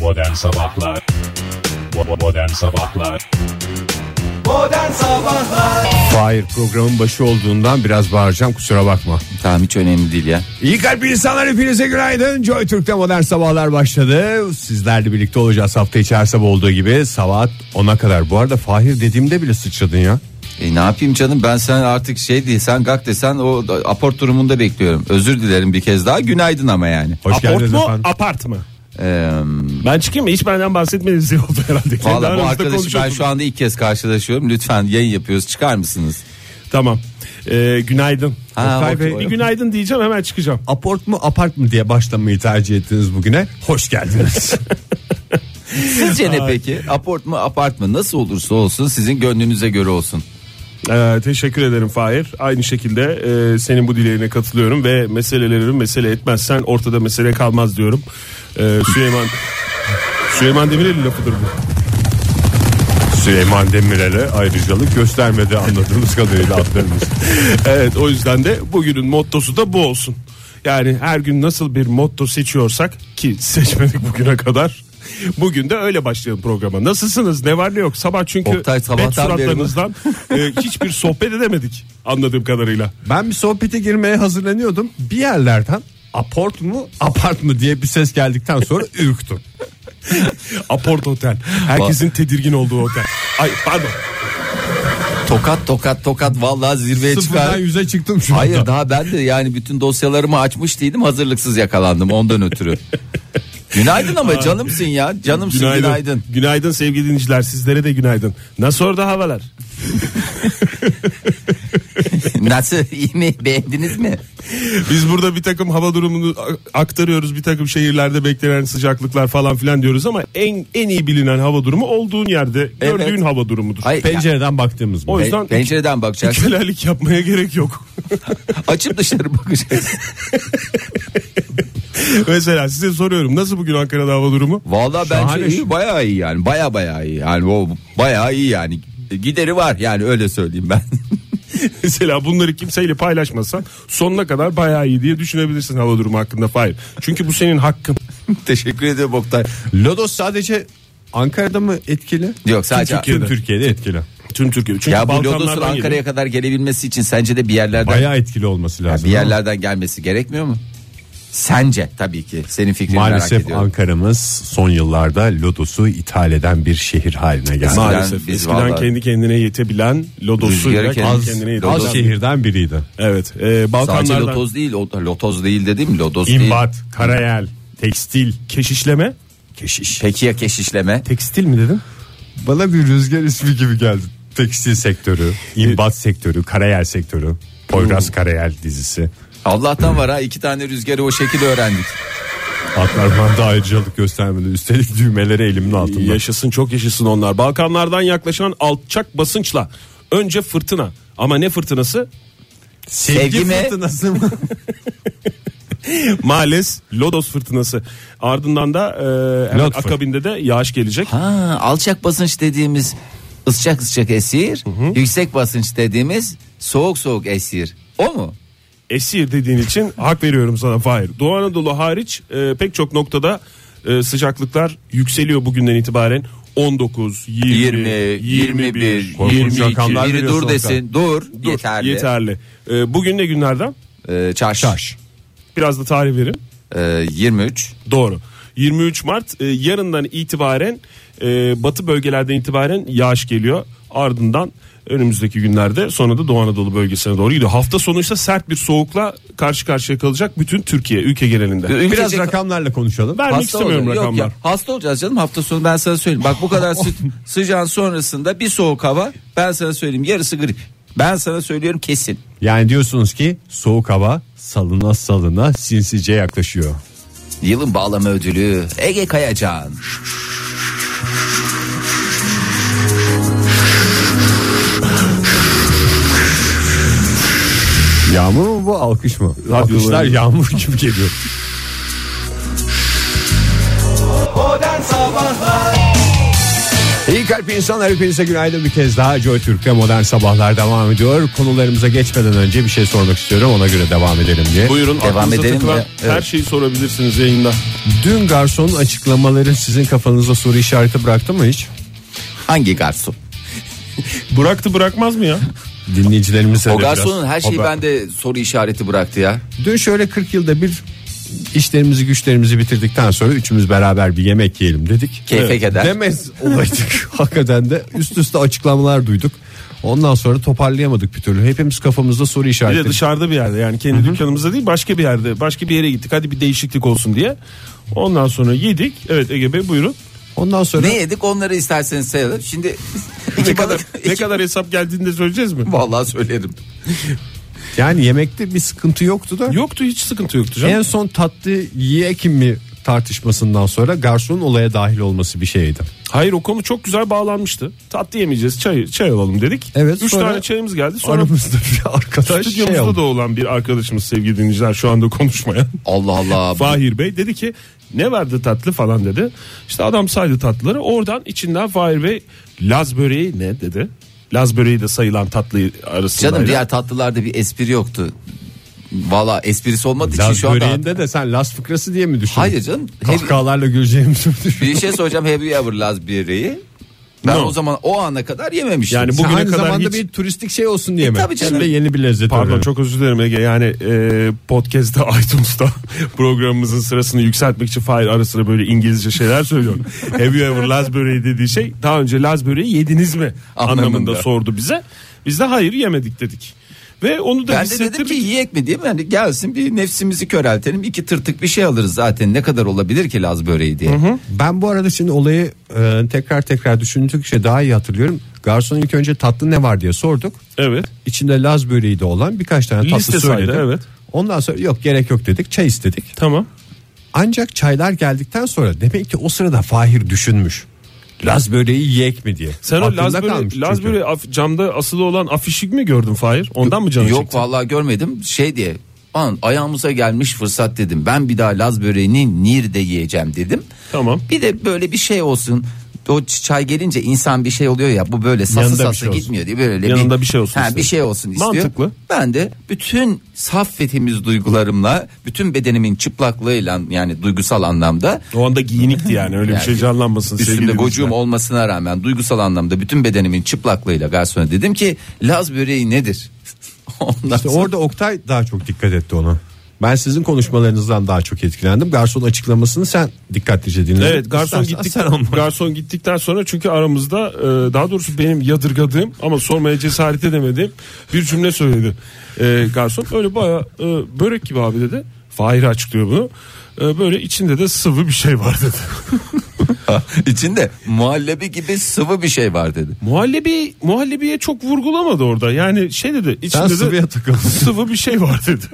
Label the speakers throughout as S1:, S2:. S1: Modern Sabahlar Bo- Modern Sabahlar
S2: Modern Sabahlar
S3: Hayır programın başı olduğundan biraz bağıracağım kusura bakma.
S4: Tamam hiç önemli değil ya.
S3: İyi kalpli insanlar hepinize günaydın. Joy Türk'te modern sabahlar başladı. Sizlerle birlikte olacağız hafta içi her sabah olduğu gibi saat 10'a kadar. Bu arada Fahir dediğimde bile sıçradın ya.
S4: E, ne yapayım canım ben sen artık şey değil sen gak desen o da- aport durumunda bekliyorum. Özür dilerim bir kez daha günaydın ama yani.
S3: Hoş
S5: Aport
S3: geldiniz
S5: mu
S3: efendim.
S5: apart mı?
S4: Ee,
S5: Ben çıkayım mı? Hiç benden bahsetmediğiniz iyi oldu herhalde. Kendi
S4: Valla bu
S5: aranızda
S4: arkadaşı ben
S5: konuşuyorsunuz.
S4: şu anda ilk kez karşılaşıyorum. Lütfen yayın yapıyoruz çıkar mısınız?
S5: Tamam. Ee, günaydın.
S4: Ha,
S3: Oktay
S4: o-
S3: Bey,
S4: o-
S5: Bir günaydın diyeceğim hemen çıkacağım.
S3: Aport mu apart mı diye başlamayı tercih ettiniz bugüne. Hoş geldiniz.
S4: Sizce ne peki? Aport mu apart mı? Nasıl olursa olsun sizin gönlünüze göre olsun.
S5: Ee, teşekkür ederim Fahir. Aynı şekilde e, senin bu dileğine katılıyorum ve meselelerini mesele etmezsen ortada mesele kalmaz diyorum. Ee, Süleyman Süleyman Demirel'in lafıdır bu.
S3: Süleyman Demirel'e ayrıcalık göstermedi anladığımız kadarıyla atlarımız.
S5: evet o yüzden de bugünün mottosu da bu olsun. Yani her gün nasıl bir motto seçiyorsak ki seçmedik bugüne kadar. Bugün de öyle başlayalım programa. Nasılsınız? Ne var ne yok? Sabah çünkü
S4: Oktay sabahtan
S5: bet suratlarınızdan e, hiçbir sohbet edemedik anladığım kadarıyla.
S3: Ben bir sohbete girmeye hazırlanıyordum. Bir yerlerden aport mu apart mı diye bir ses geldikten sonra ürktüm.
S5: Aport Otel. Herkesin tedirgin olduğu otel. Ay pardon.
S4: Tokat tokat tokat vallahi zirveye
S3: Sıfırdan
S4: çıkar.
S3: yüze çıktım şu anda.
S4: Hayır daha ben de yani bütün dosyalarımı açmış değildim hazırlıksız yakalandım ondan ötürü. Günaydın ama canımsın ya canımsın günaydın.
S5: Günaydın sevgili dinleyiciler. Sizlere de günaydın. Nasıl orada havalar?
S4: Nasıl iyi mi beğendiniz mi?
S5: Biz burada bir takım hava durumunu a- aktarıyoruz. Bir takım şehirlerde beklenen sıcaklıklar falan filan diyoruz ama en en iyi bilinen hava durumu olduğun yerde
S4: Evet.
S5: gördüğün hava durumudur.
S4: Hayır, ya-
S3: Pencereden baktığımız mı?
S5: O
S4: Pe-
S5: yüzden
S4: pencereden bakacaksın.
S5: kölelik yapmaya gerek yok.
S4: Açıp dışarı bakacaksın.
S5: Mesela size soruyorum nasıl bugün Ankara'da hava durumu?
S4: Vallahi
S3: Şahane
S4: bence
S3: şu.
S4: iyi, bayağı iyi yani. Baya bayağı iyi. Yani o bayağı iyi yani. Gideri var yani öyle söyleyeyim ben.
S5: Mesela bunları kimseyle paylaşmasan sonuna kadar bayağı iyi diye düşünebilirsin hava durumu hakkında Fahir. Çünkü bu senin hakkın.
S4: Teşekkür ederim Oktay.
S3: Lodos sadece Ankara'da mı etkili?
S4: Yok sadece
S3: Tüm Türkiye'de etkili.
S5: Tüm Türkiye. Çünkü
S4: ya bu
S5: Balkanlardan
S4: Lodos'un
S5: geliyor.
S4: Ankara'ya kadar gelebilmesi için sence de bir yerlerden
S3: Bayağı etkili olması
S4: Ya
S3: lazım.
S4: bir yerlerden gelmesi gerekmiyor mu? Sence tabii ki senin fikrini merak
S3: Maalesef
S4: ediyorum.
S3: Ankara'mız son yıllarda Lodos'u ithal eden bir şehir haline geldi.
S4: Eskiden
S5: Maalesef
S4: biz
S5: eskiden
S4: vallahi-
S5: kendi kendine yetebilen
S4: Rüzgarı
S5: Lodos'uyla kendi
S4: kendi-
S5: kendine yetebilen.
S3: Az şehirden biriydi.
S5: Evet. E,
S4: Sadece
S5: Balkanlardan.
S4: lotoz değil, o- lotoz değil dedim lodos değil.
S5: İmbat, karayel, tekstil, keşişleme.
S3: Keşiş.
S4: Peki ya keşişleme?
S5: Tekstil mi dedim?
S3: Bana bir rüzgar ismi gibi geldi. Tekstil sektörü, imbat sektörü, karayel sektörü. Poyraz Karayel dizisi.
S4: Allah'tan var ha iki tane rüzgarı o şekilde öğrendik.
S3: Atlar bana ayrıcalık göstermedi. Üstelik düğmeleri elimin altında.
S5: Yaşasın çok yaşasın onlar. Balkanlardan yaklaşan alçak basınçla. Önce fırtına. Ama ne fırtınası?
S4: Sevgi mi?
S3: fırtınası mı?
S5: Males Lodos fırtınası. Ardından da e, hemen
S3: Lot fır-
S5: akabinde de yağış gelecek.
S4: Ha, alçak basınç dediğimiz ısçak ısçak esir, yüksek basınç dediğimiz soğuk soğuk esir. O mu?
S5: Esir dediğin için hak veriyorum sana Fahir. Doğu Anadolu hariç e, pek çok noktada e, sıcaklıklar yükseliyor bugünden itibaren. 19, 20,
S4: 20,
S5: 21,
S4: 21,
S5: Korkunç
S4: 22.
S5: rakamlar
S4: Biri
S5: veriyorsun
S4: dur
S5: Oktay.
S4: desin. Dur,
S5: Dur,
S4: yeterli.
S5: yeterli. E, bugün ne günlerden?
S4: Ee, çarş.
S5: Biraz da tarih verin.
S4: Ee, 23.
S5: Doğru. 23 Mart e, yarından itibaren e, batı bölgelerden itibaren yağış geliyor. Ardından önümüzdeki günlerde sonra da Doğu Anadolu bölgesine doğru gidiyor. Hafta sonu ise sert bir soğukla karşı karşıya kalacak bütün Türkiye ülke genelinde.
S4: Ülkece-
S3: Biraz rakamlarla konuşalım.
S5: Vermek
S4: Hasta
S5: istemiyorum
S4: oluyor. Yok
S5: rakamlar.
S4: ya, hasta olacağız canım hafta sonu ben sana söyleyeyim. Bak bu kadar sı- sıcağın sonrasında bir soğuk hava ben sana söyleyeyim yarısı grip. Ben sana söylüyorum kesin.
S3: Yani diyorsunuz ki soğuk hava salına salına sinsice yaklaşıyor.
S4: Yılın bağlama ödülü Ege Kayacan.
S3: Yağmur mu bu alkış mı? Alkışlar yağmur gibi geliyor.
S2: Modern Sabahlar
S3: İyi kalp Harp insanlar hepinize günaydın bir kez daha Joy Türk'te modern sabahlar devam ediyor. Konularımıza geçmeden önce bir şey sormak istiyorum ona göre devam edelim diye.
S5: Buyurun
S4: Devam
S5: aklınıza
S4: edelim
S5: takılan
S4: mi?
S5: her
S4: Evet.
S5: şeyi sorabilirsiniz yayında.
S3: Dün garsonun açıklamaları sizin kafanızda soru işareti bıraktı mı hiç?
S4: Hangi garson?
S5: Bıraktı bırakmaz mı ya?
S3: Dinleyicilerimize de
S4: O
S3: biraz-
S4: garsonun her şeyi
S3: O-
S4: bende soru işareti bıraktı ya.
S3: Dün şöyle 40 yılda bir işlerimizi güçlerimizi bitirdikten sonra üçümüz beraber bir yemek yiyelim dedik.
S4: Keyfe keder.
S3: Demez olaydık hakikaten de üst üste açıklamalar duyduk. Ondan sonra toparlayamadık bir türlü. Hepimiz kafamızda soru
S5: Bir
S3: işareti.
S5: de dışarıda bir yerde yani kendi dükkanımızda değil başka bir yerde başka bir yere gittik hadi bir değişiklik olsun diye. Ondan sonra yedik. Evet Ege Bey buyurun.
S3: Ondan sonra
S4: Ne yedik onları isterseniz sayalım. Şimdi
S5: Ne
S4: iki
S5: kadar
S4: balık,
S5: ne
S4: iki-
S5: kadar hesap geldiğini de söyleyeceğiz mi?
S4: Vallahi söylerim.
S3: yani yemekte bir sıkıntı yoktu da.
S5: Yoktu hiç sıkıntı yoktu canım.
S3: En son tatlı yiye kim mi tartışmasından sonra garsonun olaya dahil olması bir şeydi.
S5: Hayır o konu çok güzel bağlanmıştı. Tatlı yemeyeceğiz çay, çay alalım dedik.
S3: Evet,
S5: Üç
S3: sonra-
S5: tane çayımız geldi. Sonra
S3: Aramızda bir arkadaş şey
S5: stüdyomuzda
S3: oldu.
S5: da olan bir arkadaşımız sevgili dinleyiciler şu anda konuşmayan.
S4: Allah Allah.
S5: Fahir Bey dedi ki ne vardı tatlı falan dedi. İşte adam saydı tatlıları oradan içinden Fahir Bey Laz böreği ne dedi. Laz böreği de sayılan tatlı arasında.
S4: Canım diğer tatlılarda bir espri yoktu. Valla esprisi olmadığı için
S3: Laz
S4: şu anda.
S3: böreğinde de sen Las fıkrası diye mi düşündün?
S4: Hayır canım.
S3: Kahkahalarla güleceğimizi mi düşündün?
S4: Bir şey soracağım Heavy Ever Laz bireyi. Ben
S5: No.
S4: o zaman o ana kadar yememiştim.
S5: Yani bu-
S3: Sen
S5: Bugüne
S3: aynı
S5: kadar
S3: zamanda
S5: hiç-
S3: bir turistik şey olsun diye
S4: E,
S3: mi?
S4: tabii canım.
S3: Şimdi yeni bir lezzet
S5: Pardon
S3: öğrenelim.
S5: çok özür dilerim Ege. Yani e, podcast'ta iTunes'ta programımızın sırasını yükseltmek için Fahir ara sıra böyle İngilizce şeyler söylüyor. Have you ever Laz böreği dediği şey daha önce Laz böreği yediniz mi anlamında,
S4: Anlamında.
S5: sordu bize. Biz de hayır yemedik dedik. Ve onu da
S4: ben de
S5: hissettirdik.
S4: dedim ki yiyek mi diyeyim yani gelsin bir nefsimizi köreltelim iki tırtık bir şey alırız zaten ne kadar olabilir ki Laz böreği diye.
S3: Ben bu arada şimdi olayı e, tekrar tekrar düşündükçe daha iyi hatırlıyorum. Garson ilk önce tatlı ne var diye sorduk.
S5: Evet.
S3: İçinde Laz böreği de olan birkaç tane tatlı
S5: Liste saydı,
S3: söyledi.
S5: evet.
S3: Ondan sonra yok gerek yok dedik çay istedik.
S5: Tamam.
S3: Ancak çaylar geldikten sonra demek ki o sırada Fahir düşünmüş. Laz böreği yiyek mi diye.
S5: Sen o
S3: Aklında
S5: Laz
S3: kalmış
S5: böreği, Laz
S3: çünkü.
S5: böreği af- camda asılı olan afişi mi gördün Fahir? Ondan mı canın
S4: Yok
S5: çekti?
S4: vallahi görmedim şey diye an ayağımıza gelmiş fırsat dedim ben bir daha Laz böreğini Nir'de yiyeceğim dedim.
S5: Tamam.
S4: Bir de böyle bir şey olsun o ç- çay gelince insan bir şey oluyor ya bu böyle sası
S5: Yanında bir
S4: sası
S5: şey olsun.
S4: gitmiyor diye böyle
S5: Yanında bir şey olsun
S4: Ha,
S5: istiyor.
S4: bir şey olsun istiyor.
S5: Mantıklı.
S4: Ben de bütün saf ve temiz duygularımla bütün bedenimin çıplaklığıyla yani duygusal anlamda
S5: O anda giyinikti yani öyle bir
S4: Yani
S5: şey canlanmasın.
S4: Üstümde
S5: sevgili
S4: gocuğum
S5: dinleyiciler.
S4: olmasına rağmen duygusal anlamda bütün bedenimin çıplaklığıyla garsona dedim ki Laz böreği nedir? Ondan
S3: İşte
S4: sonra-
S3: orada Oktay daha çok dikkat etti ona. Ben sizin konuşmalarınızdan daha çok etkilendim. Garson açıklamasını sen dikkatlice dinledin.
S5: Evet garson
S3: İstersen
S5: gittik,
S3: sen anlat.
S5: garson gittikten sonra çünkü aramızda e, daha doğrusu benim yadırgadığım ama sormaya cesaret edemediğim bir cümle söyledi. E, garson öyle baya e, börek gibi abi dedi. Fahir açıklıyor bunu. E, böyle içinde de sıvı bir şey var dedi.
S4: İçinde muhallebi gibi sıvı bir şey var dedi.
S5: Muhallebi muhallebiye çok vurgulamadı orada. Yani şey dedi içinde
S3: Sen
S5: de
S3: sıvıya takıldın.
S5: sıvı bir şey var dedi.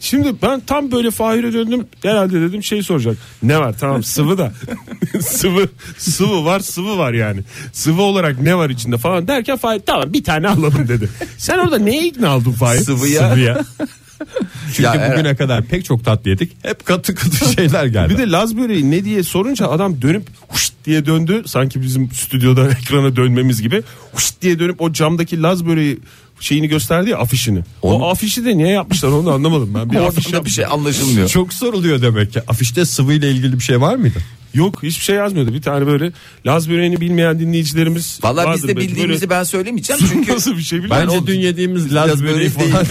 S5: Şimdi ben tam böyle Fahir'e döndüm. Herhalde dedim şey soracak. Ne var tamam sıvı da. sıvı sıvı var sıvı var yani. Sıvı olarak ne var içinde falan derken Fahir tamam bir tane alalım dedi. Sen orada neye ikna oldun Fahir?
S4: Sıvıya.
S3: Çünkü
S4: Ya, evet.
S3: bugüne kadar pek çok tatlı yedik. Hep katı katı şeyler geldi.
S5: Bir de Laz böreği ne diye sorunca adam dönüp huşt diye döndü. Sanki bizim stüdyoda ekrana dönmemiz gibi. Huşt diye dönüp o camdaki Laz böreği şeyini gösterdi ya afişini. O afişi de niye yapmışlar onu anlamadım ben. Bir afiş
S4: Orada bir şey
S5: yapmışlar.
S4: anlaşılmıyor.
S3: çok soruluyor demek ki. Afişte sıvıyla ilgili bir şey var mıydı?
S5: Yok hiçbir şey yazmıyordu. Bir tane böyle Laz böreğini bilmeyen dinleyicilerimiz
S4: Valla
S5: vardır
S4: biz de
S5: belki.
S4: bildiğimizi
S5: Böyle
S4: ben söylemeyeceğim çünkü
S5: nasıl bir şey biliyor
S3: Bence
S5: musun?
S4: o-
S3: dün yediğimiz
S4: Laz
S3: laz böreği
S4: böreği
S3: falan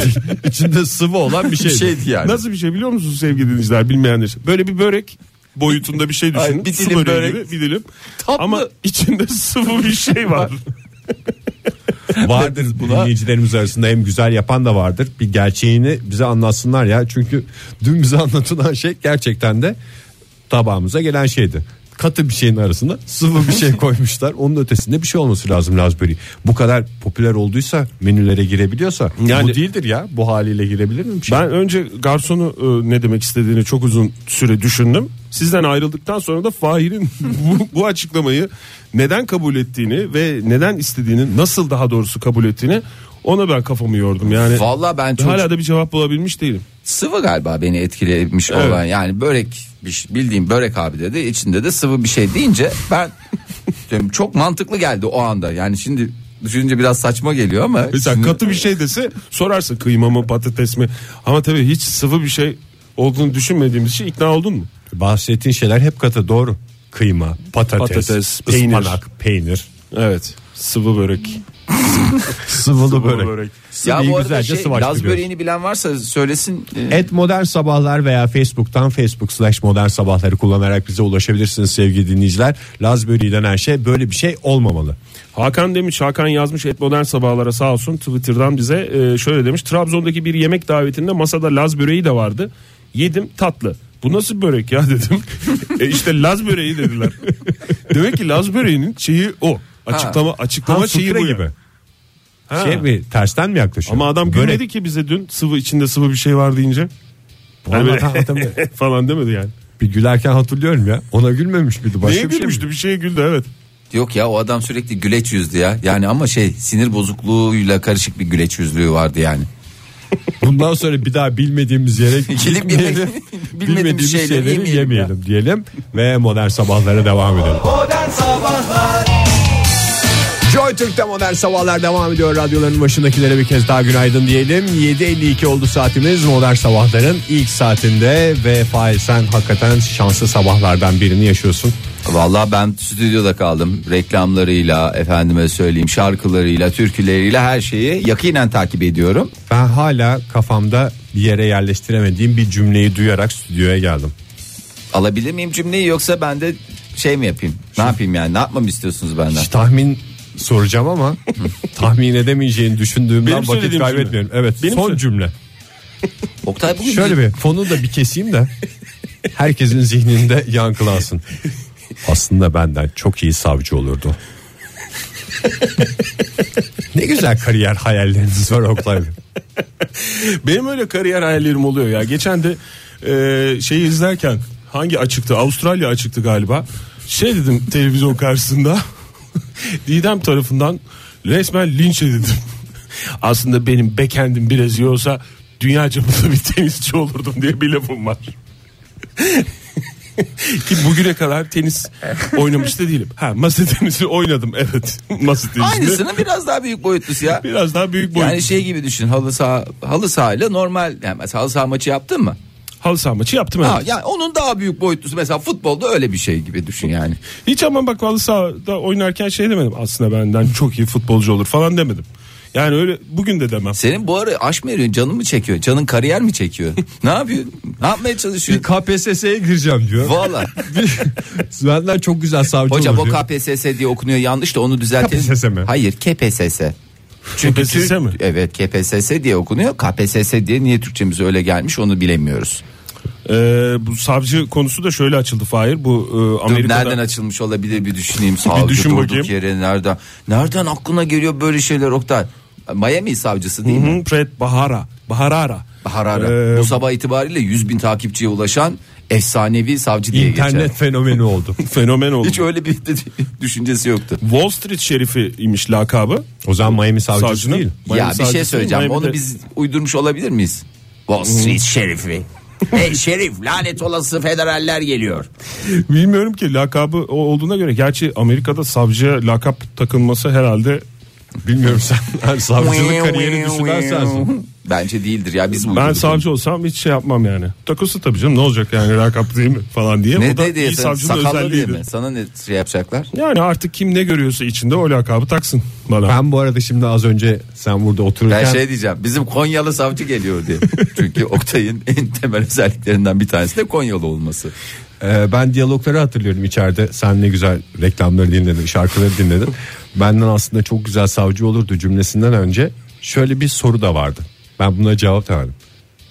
S3: içinde sıvı olan bir
S4: bir
S3: şeydi.
S4: şeydi yani.
S5: Nasıl bir şey biliyor musunuz sevgili dinleyiciler bilmeyenler? Böyle bir börek boyutunda bir şey düşünün.
S4: Ay, bir
S5: Su
S4: dilim
S5: böreği
S4: börek.
S5: gibi bir dilim.
S4: Tatlı.
S5: Ama içinde sıvı bir şey var.
S3: Vardır dinleyicilerimiz arasında hem güzel yapan da vardır. Bir gerçeğini bize anlatsınlar ya. Çünkü dün bize anlatılan şey gerçekten de tabağımıza gelen şeydi. Katı bir şeyin arasında sıvı bir şey koymuşlar. Onun ötesinde bir şey olması lazım Lazburi. Bu kadar popüler olduysa menülere girebiliyorsa
S5: Yani-
S3: bu değildir ya. Bu haliyle girebilir mi bir şey?
S5: Ben önce garsonu e, ne demek istediğini çok uzun süre düşündüm. Sizden ayrıldıktan sonra da Fahir'in bu, bu açıklamayı neden kabul ettiğini ve neden istediğini nasıl daha doğrusu kabul ettiğini ona ben kafamı yordum. Yani
S4: Valla ben çok
S5: şey? hala da bir cevap bulabilmiş değilim.
S4: sıvı galiba beni etkilemiş olan yani börek bir şey- bildiğim börek abi dedi içinde de sıvı bir şey deyince ben istiyorum. Çok mantıklı geldi o anda. Yani şimdi düşününce biraz saçma geliyor ama.
S5: Mesela
S4: şimdi-
S5: katı bir şey dese sorarsın kıyma mı patates mi? Ama tabii hiç sıvı bir şey olduğunu düşünmediğimiz için ikna oldun mu?
S3: Bahsettiğin şeyler hep katı doğru. Kıyma, patates,
S5: Patates, peynir.
S3: ıspanak, peynir,
S5: Evet. Sıvı börek.
S3: sıvılı
S4: ya
S3: börek. Sıvıyı
S4: bu arada
S3: güzelce
S4: şey,
S3: sıvaştırıyoruz.
S4: Laz böreğini bilen varsa söylesin. Ee,
S3: Et Modern Sabahlar veya Facebook'tan Facebook slash Modern Sabahları kullanarak bize ulaşabilirsiniz sevgili dinleyiciler. Laz böreği denen şey böyle bir şey olmamalı.
S5: Hakan demiş Hakan yazmış et modern sabahlara sağ olsun Twitter'dan bize e, şöyle demiş. Trabzon'daki bir yemek davetinde masada Laz böreği de vardı. Yedim tatlı. Bu nasıl börek ya dedim. e işte Laz böreği dediler. Demek ki Laz böreğinin şeyi o. Açıklama açıklama
S3: Hans
S5: şeyi
S3: Sukre
S5: bu ya.
S3: gibi.
S5: Ha.
S3: Şey mi tersten mi yaklaşıyor?
S5: Ama adam
S3: Börek.
S5: gülmedi ki bize dün sıvı içinde sıvı bir şey var deyince.
S3: Vallahi
S5: Yani böyle
S3: tam hatırlamıyorum.
S5: falan demedi yani.
S3: Bir gülerken hatırlıyorum ya. Ona gülmemiş miydi? Başka
S5: Neye
S3: bir şey
S5: gülmüştü?
S3: mi?
S5: bir şeye güldü evet.
S4: Yok ya o adam sürekli güleç yüzdü ya. Yani ama şey sinir bozukluğuyla karışık bir güleç yüzlüğü vardı yani.
S3: Bundan sonra bir daha bilmediğimiz yere
S4: Gidip
S3: gitmeyelim.
S4: bilmediğimiz
S3: bilmediğimiz
S4: şeyleri
S3: şeyleri yemeyelim,
S4: yemeyelim
S3: diyelim. Ve Modern Sabahlara devam edelim.
S6: Modern Sabahlar
S3: Joy Türk'te modern sabahlar devam ediyor. Radyoların başındakilere bir kez daha günaydın diyelim. 7.52 oldu saatimiz modern sabahların ilk saatinde ve Fahir sen hakikaten şanslı sabahlardan birini yaşıyorsun.
S4: Vallahi ben stüdyoda kaldım. Reklamlarıyla, efendime söyleyeyim, şarkılarıyla, türküleriyle her şeyi yakinen takip ediyorum.
S3: Ben hala kafamda bir yere yerleştiremediğim bir cümleyi duyarak stüdyoya geldim.
S4: Alabilir miyim cümleyi yoksa ben de şey mi yapayım? Ne yapayım yani? Ne yapmamı istiyorsunuz benden?
S3: Hiç tahmin soracağım ama tahmin edemeyeceğini düşündüğümden
S5: Benim
S3: vakit
S5: söylediğim
S3: kaybetmiyorum.
S5: cümle.
S3: Evet
S5: Benim
S3: son
S5: söyle-
S3: cümle.
S4: Oktay bugün
S3: Şöyle bir fonu da bir keseyim de herkesin zihninde yankılansın. Aslında benden çok iyi savcı olurdu. ne güzel kariyer hayalleriniz var Oktay Bey.
S5: Benim öyle kariyer hayallerim oluyor ya. Geçen de e, şeyi izlerken hangi açıktı? Avustralya açıktı galiba. Şey dedim televizyon karşısında. Didem tarafından resmen linç edildim. Aslında benim bekendim biraz iyi olsa dünya çapında bir tenisçi olurdum diye bir lafım var. Ki bugüne kadar tenis oynamış da değilim. Ha masa tenisi oynadım evet. Masa tenisi.
S4: aynısının biraz daha büyük boyutlusu ya.
S5: Biraz daha büyük boyut.
S4: Yani şey gibi düşün. Halı saha halı sahayla normal yani mesela halı saha maçı yaptın mı?
S5: Halı saha maçı yaptım evet.
S4: Ha yani onun daha büyük boyutlusu mesela futbolda öyle bir şey gibi düşün yani.
S5: Hiç ama bak halı sahada oynarken şey demedim. Aslında benden çok iyi futbolcu olur falan demedim. Yani öyle bugün de demem.
S4: Senin bu ara aş mı eriyorsun? Canın mı çekiyor? Canın kariyer mi çekiyor? ne yapıyorsun? Ne yapmaya
S3: Bir
S4: çalışıyorsun?
S3: KPSS'ye gireceğim diyor.
S4: Valla.
S3: Benden çok güzel savcı
S4: Hocam o
S3: olur diyor.
S4: KPSS diye okunuyor yanlış da onu düzeltelim.
S3: KPSS mi?
S4: Hayır KPSS.
S5: KPSS mi?
S4: Evet KPSS diye okunuyor. KPSS diye niye Türkçemize öyle gelmiş onu bilemiyoruz.
S5: Ee, bu savcı konusu da şöyle açıldı Fahir. Bu e,
S4: Dur,
S5: Amerika'da
S4: Nereden açılmış olabilir bir düşüneyim. Savcı
S5: düşün
S4: durduk
S5: bakayım.
S4: yere nereden? Nereden aklına geliyor böyle şeyler Oktay? Miami savcısı değil mi?
S5: Hı, Fred Bahara. Baharara.
S4: Harara.
S5: Ee,
S4: Bu sabah itibariyle 100 bin takipçiye ulaşan efsanevi savcı diye
S3: İnternet
S4: geçer.
S3: fenomeni oldu.
S5: fenomen oldu.
S4: Hiç öyle bir düşüncesi yoktu.
S5: Wall Street şerifi imiş lakabı.
S3: O zaman Miami savcısı
S5: Savcının-
S3: değil.
S5: Miami
S4: ya bir şey
S5: savcısı,
S4: söyleyeceğim.
S5: Miami'de-
S4: Onu biz uydurmuş olabilir miyiz? Wall Street şerifi. Hey şerif lanet olası federaller geliyor.
S5: Bilmiyorum ki lakabı o olduğuna göre. Gerçi Amerika'da savcıya lakap takılması herhalde
S3: Bilmiyorum sen her savcılık kariyerini düşünen sensin.
S4: Bence değildir ya biz
S5: Ben
S4: uydurduk.
S5: savcı olsam hiç şey yapmam yani. Takılsın tabii canım ne olacak yani lakap değil mi falan diye.
S4: Ne
S5: o da
S4: ne diye
S5: iyi
S4: sen-
S5: savcının
S4: sakallı diye
S5: özelliğiydi.
S4: mi? Sana ne şey yapacaklar?
S5: Yani artık kim ne görüyorsa içinde o lakabı taksın bana.
S3: Ben bu arada şimdi az önce sen burada otururken
S4: Ben şey diyeceğim bizim Konyalı savcı geliyor diye. Çünkü Oktay'ın en temel özelliklerinden bir tanesi de Konyalı olması.
S3: Ee, ben diyalogları hatırlıyorum içeride. Sen ne güzel reklamları dinledin, şarkıları dinledin. Benden aslında çok güzel savcı olurdu cümlesinden önce şöyle bir soru da vardı. Ben buna cevap da verdim.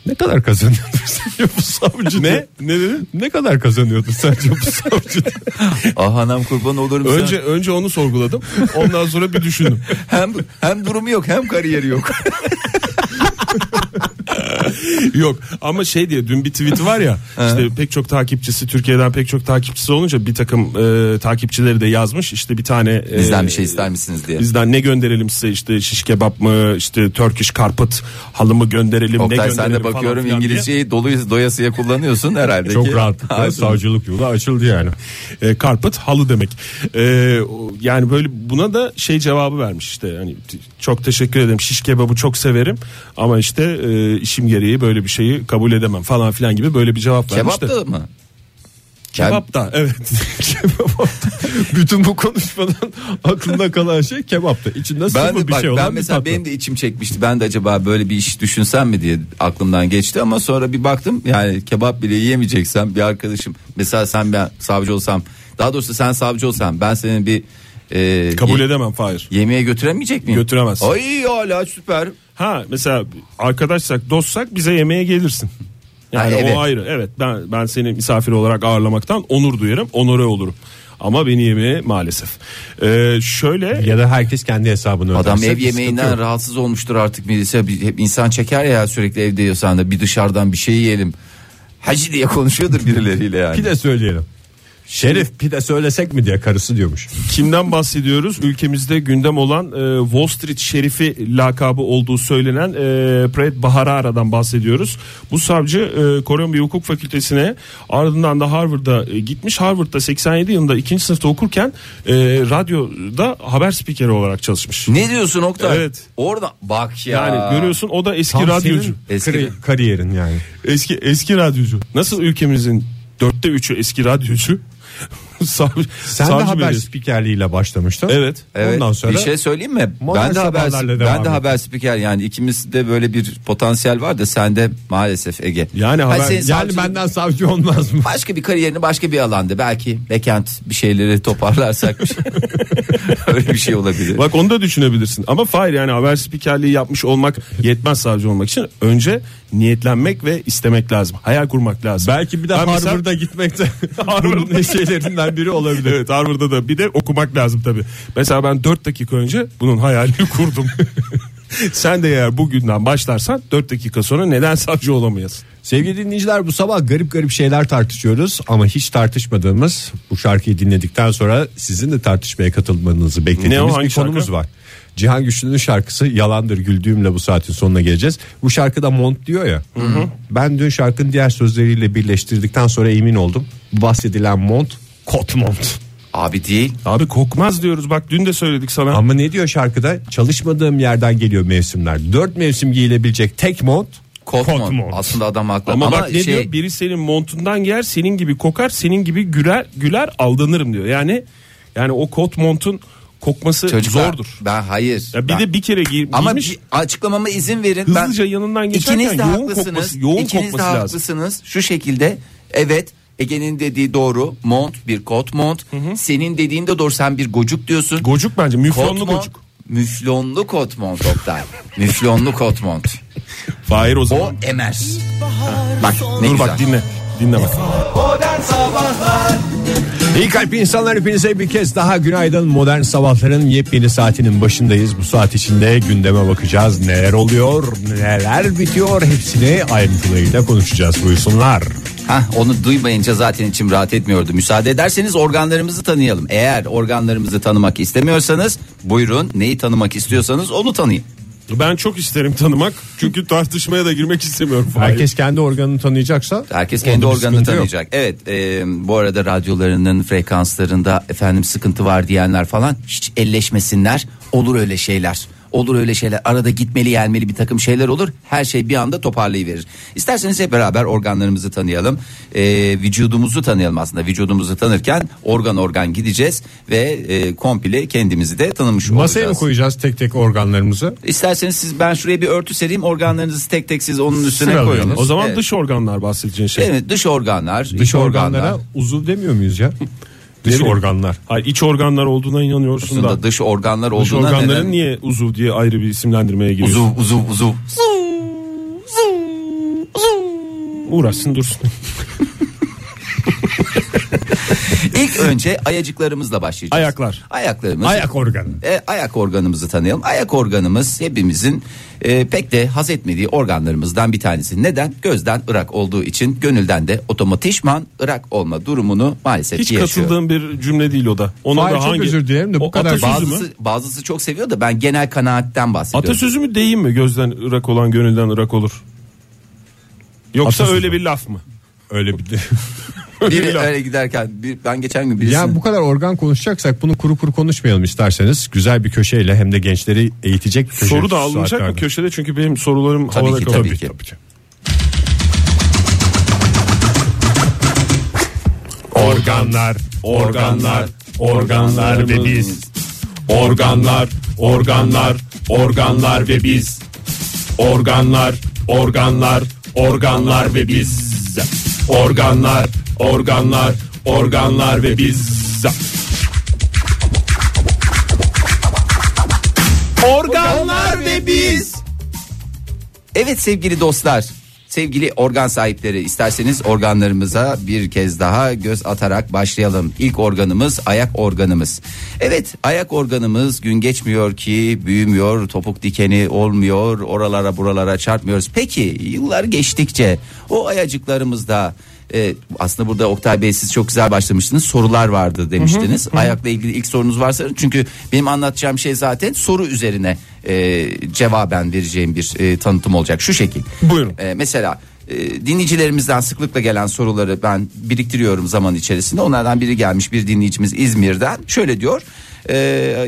S3: Ne kadar kazanıyordun sence bu savcı?
S5: Ne? Ne dedin?
S3: Ne kadar kazanıyordun sence bu savcı?
S4: Ah anam kurban olurum sana.
S5: Önce önce onu sorguladım. Ondan sonra bir düşündüm.
S4: Hem hem durumu yok hem kariyeri yok.
S5: Yok ama şey diye dün bir tweet var ya işte pek çok takipçisi Türkiye'den pek çok takipçisi olunca bir takım e, takipçileri de yazmış işte bir tane e,
S4: Bizden bir şey ister misiniz diye.
S5: Bizden ne gönderelim size işte şiş kebap mı işte Turkish karput halı mı gönderelim ne
S4: Oktay
S5: gönderelim
S4: sen de
S5: falan
S4: bakıyorum
S5: filan diye.
S4: İngilizceyi dolu doyasıya kullanıyorsun herhalde.
S3: Çok
S4: ki.
S3: rahatlıkla
S4: Hayır.
S3: savcılık yolu açıldı yani.
S5: E, karpıt halı demek. E, o- yani böyle buna da şey cevabı vermiş işte hani t- çok teşekkür ederim şiş kebabı çok severim ama işte e, işim gereği böyle bir şeyi kabul edemem falan filan gibi böyle bir cevap vermiş
S4: Kebap
S5: de.
S4: da mı?
S5: Kebap da evet. Kebap da.
S3: Bütün bu konuşmadan aklımda kalan şey kebaptı. İçinde
S4: Ben,
S3: sıvı
S4: ben de,
S3: bir
S4: bak,
S3: şey olan
S4: ben
S3: bir
S4: mesela
S3: tatlı.
S4: benim de içim çekmişti. Ben de acaba böyle bir iş düşünsem mi diye aklımdan geçti ama sonra bir baktım yani kebap bile yiyemeyeceksem bir arkadaşım mesela sen ben savcı olsam daha doğrusu sen savcı olsan ben senin bir e,
S5: Kabul
S4: ye-
S5: edemem Fahir.
S4: yemeğe götüremeyecek miyim?
S5: Götüremezsin.
S4: Ay hala süper.
S5: Ha mesela arkadaşsak dostsak bize yemeğe gelirsin. Yani
S4: Ha, evet.
S5: o ayrı. Evet ben ben seni misafir olarak ağırlamaktan onur duyarım, onore olurum. Ama beni yemeğe maalesef. Ee, şöyle
S3: Ya da herkes kendi hesabını öderse.
S4: Adam
S3: bir
S4: ev
S3: sıkıntı
S4: yemeğinden
S3: yok.
S4: rahatsız olmuştur artık Melisa. Bir- Hep insan çeker ya sürekli evde yiyorsan da bir dışarıdan bir şey yiyelim. Hacı diye konuşuyordur birileriyle yani.
S3: Pide söyleyelim. Şerif pide söylesek mi diye karısı diyormuş.
S5: Kimden bahsediyoruz? Ülkemizde gündem olan e, Wall Street şerifi lakabı olduğu söylenen e, Brett Baharara'dan bahsediyoruz. Bu savcı e, Columbia Hukuk Fakültesi'ne ardından da Harvard'a e, gitmiş. Harvard'da 87 yılında ikinci sınıfta okurken e, radyoda haber spikeri olarak çalışmış.
S4: Ne diyorsun Oktay?
S5: Evet.
S4: Orada bak ya.
S5: Yani görüyorsun o da eski
S3: Tam
S5: radyocu.
S3: senin
S4: Eski-
S3: kari- kariyerin yani.
S5: Eski eski radyocu. Nasıl ülkemizin dörtte üçü eski radyocu? savcı,
S3: Sen de
S5: savcı
S3: haber
S5: belediyesi.
S3: spikerliğiyle başlamıştın.
S5: Evet.
S4: Evet.
S3: Ondan sonra
S4: bir şey söyleyeyim mi?
S3: modern
S4: Ben de haber
S3: sabahlarla devam
S4: ben de
S3: et.
S4: haber spiker yani ikimiz de böyle bir potansiyel var da sende maalesef Ege.
S5: Yani
S4: Ha,
S5: haber-
S4: senin
S5: yani
S4: savcılık-
S3: yani benden savcı olmaz mı?
S4: başka bir kariyerini başka bir alanda belki Bekent bir şeyleri toparlarsak bir şey- öyle bir şey olabilir.
S5: Bak onu da düşünebilirsin. Ama Fahir yani haber spikerliği yapmış olmak yetmez savcı olmak için. Önce niyetlenmek ve istemek lazım. Hayal kurmak lazım.
S3: Belki bir de
S5: Ben mesela-
S3: Harvard'a gitmek de
S5: Harvard'da-
S3: bunun şeylerinden biri olabilir.
S5: Evet Harvard'da da bir de okumak lazım tabii. Mesela ben 4 dakika önce bunun hayalini kurdum. Sen de eğer bugünden başlarsan 4 dakika sonra neden savcı olamayasın?
S3: Sevgili dinleyiciler bu sabah garip garip şeyler tartışıyoruz ama hiç tartışmadığımız bu şarkıyı dinledikten sonra sizin de tartışmaya katılmanızı
S5: Ne o,
S3: beklediğimiz
S5: hangi
S3: bir konumuz
S5: şarkı?
S3: var. Cihan Güçlü'nün şarkısı Yalandır Güldüğümle bu saatin sonuna geleceğiz. Bu şarkıda mont diyor ya. Ben dün şarkının diğer sözleriyle birleştirdikten sonra emin oldum. Bahsedilen mont kot mont.
S4: Abi değil.
S5: Abi kokmaz diyoruz bak dün de söyledik sana.
S3: Ama ne diyor şarkıda? Çalışmadığım yerden geliyor mevsimler. Dört mevsim giyilebilecek tek mont
S4: Kot,
S3: Kot
S4: mont.
S3: mont.
S4: Aslında adam haklı.
S5: Ama,
S4: Ama,
S5: bak ne
S4: şey
S5: diyor? Biri senin montundan yer, senin gibi kokar, senin gibi güler, güler aldanırım diyor. Yani yani o kot montun kokması
S4: çocuklar,
S5: zordur.
S4: Ben hayır.
S5: Ya bir
S4: Ben-
S5: de bir kere giy,
S4: ama
S5: giymiş.
S4: bir açıklamama izin verin.
S5: Hızlıca yanından geçerken
S4: ikiniz de
S5: yoğun
S4: haklısınız.
S5: kokması- yoğun
S4: İkiniz
S5: kokması
S4: de
S5: lazım.
S4: haklısınız. Şu şekilde evet Ege'nin dediği doğru. Mont bir kot mont. Senin dediğin de doğru. Sen bir gocuk diyorsun.
S5: Gocuk bence
S4: kot
S5: müflonlu
S4: mont.
S5: gocuk.
S4: Müflonlu kot mont Oktay. müflonlu kot mont.
S5: Fahir o
S4: O
S5: zaman.
S4: emer. Bak ne
S5: Dur
S4: güzel.
S5: bak dinle. Dinle bak.
S2: Modern Sabahlar
S3: İyi kalpli insanlar hepinize bir kez daha günaydın. Modern sabahların yepyeni saatinin başındayız. Bu saat içinde gündeme bakacağız. Neler oluyor, neler bitiyor hepsini ayrıntılıyla konuşacağız. Buyursunlar.
S4: Hah, onu duymayınca zaten içim rahat etmiyordu. Müsaade ederseniz organlarımızı tanıyalım. Eğer organlarımızı tanımak istemiyorsanız buyurun neyi tanımak istiyorsanız onu tanıyın.
S5: Ben çok isterim tanımak. Çünkü tartışmaya da girmek istemiyorum. Fahir.
S3: Herkes kendi organını tanıyacaksa
S4: Herkes kendi
S3: onda bir
S4: organını
S3: sıkıntı yok.
S4: tanıyacak. Evet e, bu arada radyolarının frekanslarında efendim sıkıntı var diyenler falan hiç elleşmesinler. Olur öyle şeyler. Olur öyle şeyler. Arada gitmeli gelmeli bir takım şeyler olur. Her şey bir anda toparlayıverir. İsterseniz hep beraber organlarımızı tanıyalım. E, vücudumuzu tanıyalım aslında. Vücudumuzu tanırken organ organ gideceğiz ve e, komple kendimizi de tanımış
S3: Masaya mı
S4: olacağız.
S3: koyacağız tek tek organlarımızı?
S4: İsterseniz siz ben şuraya bir örtü sereyim organlarınızı tek tek siz onun üstüne
S3: Sıralayalım.
S4: koyunuz.
S5: O zaman
S4: Evet.
S5: dış organlar bahsedeceğin şey.
S4: Evet, dış organlar,
S3: Dış
S4: iç organlar.
S3: organlara uzuv demiyor muyuz ya? Dış
S5: bileyim.
S3: organlar.
S5: Hayır iç organlar olduğuna inanıyorsun
S4: aslında
S5: da.
S4: dış organlar
S5: Dış
S4: olduğuna
S5: organların
S4: neden
S5: niye uzuv diye ayrı bir isimlendirmeye giriyorsun?
S4: uzuv uzuv uzuv
S5: Uğraşsın dursun.
S4: İlk önce ayacıklarımızla başlayacağız.
S5: Ayaklar.
S4: Ayaklarımız.
S3: Ayak organı.
S4: E, ayak organımızı tanıyalım. Ayak organımız hepimizin e, pek de haz etmediği organlarımızdan bir tanesi. Neden? Gözden ırak olduğu için gönülden de otomatikman ırak olma durumunu maalesef
S5: Hiç
S4: ki yaşıyor.
S5: katıldığım bir cümle değil o da. Ona
S3: Hayır,
S5: da
S3: çok
S5: hangi?
S3: özür dilerim de bu
S5: O
S3: kadar-
S5: atasözü mü?
S4: Bazısı, bazısı çok seviyor da ben genel kanaatten bahsediyorum.
S5: Atasözü mü değil mi? Gözden ırak olan gönülden ırak olur. Yoksa
S3: Atasözü.
S5: öyle bir laf mı?
S3: Öyle bir de.
S4: Biri öyle giderken bir, ben geçen gün birisini...
S3: Ya bu kadar organ konuşacaksak bunu kuru kuru konuşmayalım isterseniz. Güzel bir köşeyle hem de gençleri eğitecek bir köşe.
S5: Soru da
S3: şu
S5: alınacak mı
S3: saatlerde.
S5: köşede? Çünkü benim sorularım
S4: Tabii
S5: havada
S4: ki,
S5: kalıyor.
S4: tabii ki.
S3: Organlar,
S1: Organlar, organlar ve biz. Organlar, organlar, organlar ve biz. Organlar, organlar, organlar ve biz. Organlar, organlar, organlar ve biz.
S4: Organlar ve biz. Evet sevgili dostlar, sevgili organ sahipleri isterseniz organlarımıza bir kez daha göz atarak başlayalım. İlk organımız ayak organımız. Evet ayak organımız gün geçmiyor ki büyümüyor, topuk dikeni olmuyor, oralara buralara çarpmıyoruz. Peki yıllar geçtikçe o ayacıklarımızda e, aslında burada Oktay Bey siz çok güzel başlamıştınız. Sorular vardı demiştiniz. Ayakla ilgili ilk sorunuz varsa çünkü benim anlatacağım şey zaten soru üzerine e, cevaben vereceğim bir e, tanıtım olacak şu şekil.
S5: Buyurun.
S4: E, mesela e, dinleyicilerimizden sıklıkla gelen soruları ben biriktiriyorum zaman içerisinde. Onlardan biri gelmiş bir dinleyicimiz İzmir'den. Şöyle diyor. e,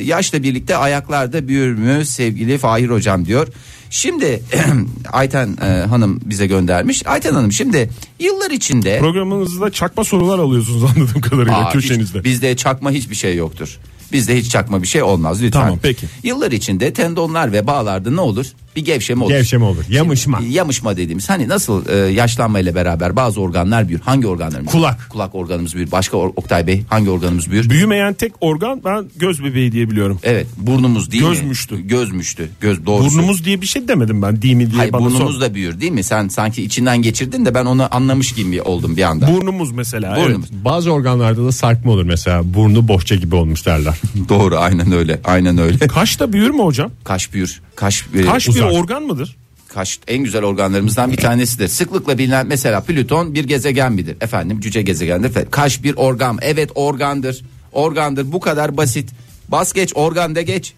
S4: yaşla birlikte ayaklarda büyür mü sevgili Fahir hocam diyor. Şimdi Ayten e, hanım bize göndermiş. Ayten hanım şimdi yıllar içinde
S5: Programınızda çakma sorular alıyorsunuz anladığım kadarıyla
S4: Aa,
S5: köşenizde.
S4: hiç- bizde çakma hiçbir şey yoktur. Bizde hiç çakma bir şey olmaz lütfen.
S5: Tamam, peki.
S4: Yıllar içinde tendonlar ve bağlarda ne olur? Bir gevşeme olur.
S3: Gevşeme olur. Yamışma.
S4: E, Yamışma dediğimiz hani nasıl e, yaşlanmayla beraber bazı organlar büyür. Hangi organlarımız?
S3: Kulak.
S4: Kulak organımız büyür. Başka or- Oktay Bey hangi organımız büyür?
S5: Büyümeyen tek organ ben göz bebeği diye biliyorum.
S4: evet burnumuz değil mi?
S5: Gözmüştü.
S4: Gözmüştü. Göz doğrusu.
S5: Burnumuz diye bir şey demedim ben. Değil mi diye
S4: Hayır
S5: bana
S4: burnumuz
S5: sor.
S4: da büyür değil mi? Sen sanki içinden geçirdin de ben onu anlamış gibi oldum bir anda.
S5: Burnumuz mesela.
S4: Burnumuz.
S5: Evet.
S3: Bazı organlarda da sarkma olur mesela. Burnu bohça gibi olmuş derler.
S4: Doğru aynen öyle. Aynen öyle.
S5: Kaş da büyür mü hocam?
S4: Kaş büyür. Kaş, e,
S5: Kaş
S3: uzak.
S5: bir organ mıdır?
S4: kaş en güzel organlarımızdan bir tanesidir. Sıklıkla bilinen mesela Plüton bir gezegen midir? Efendim cüce gezegendir. Fe- Kaş bir organ. Evet organdır. Organdır. Bu kadar basit. Bas geç organ de geç.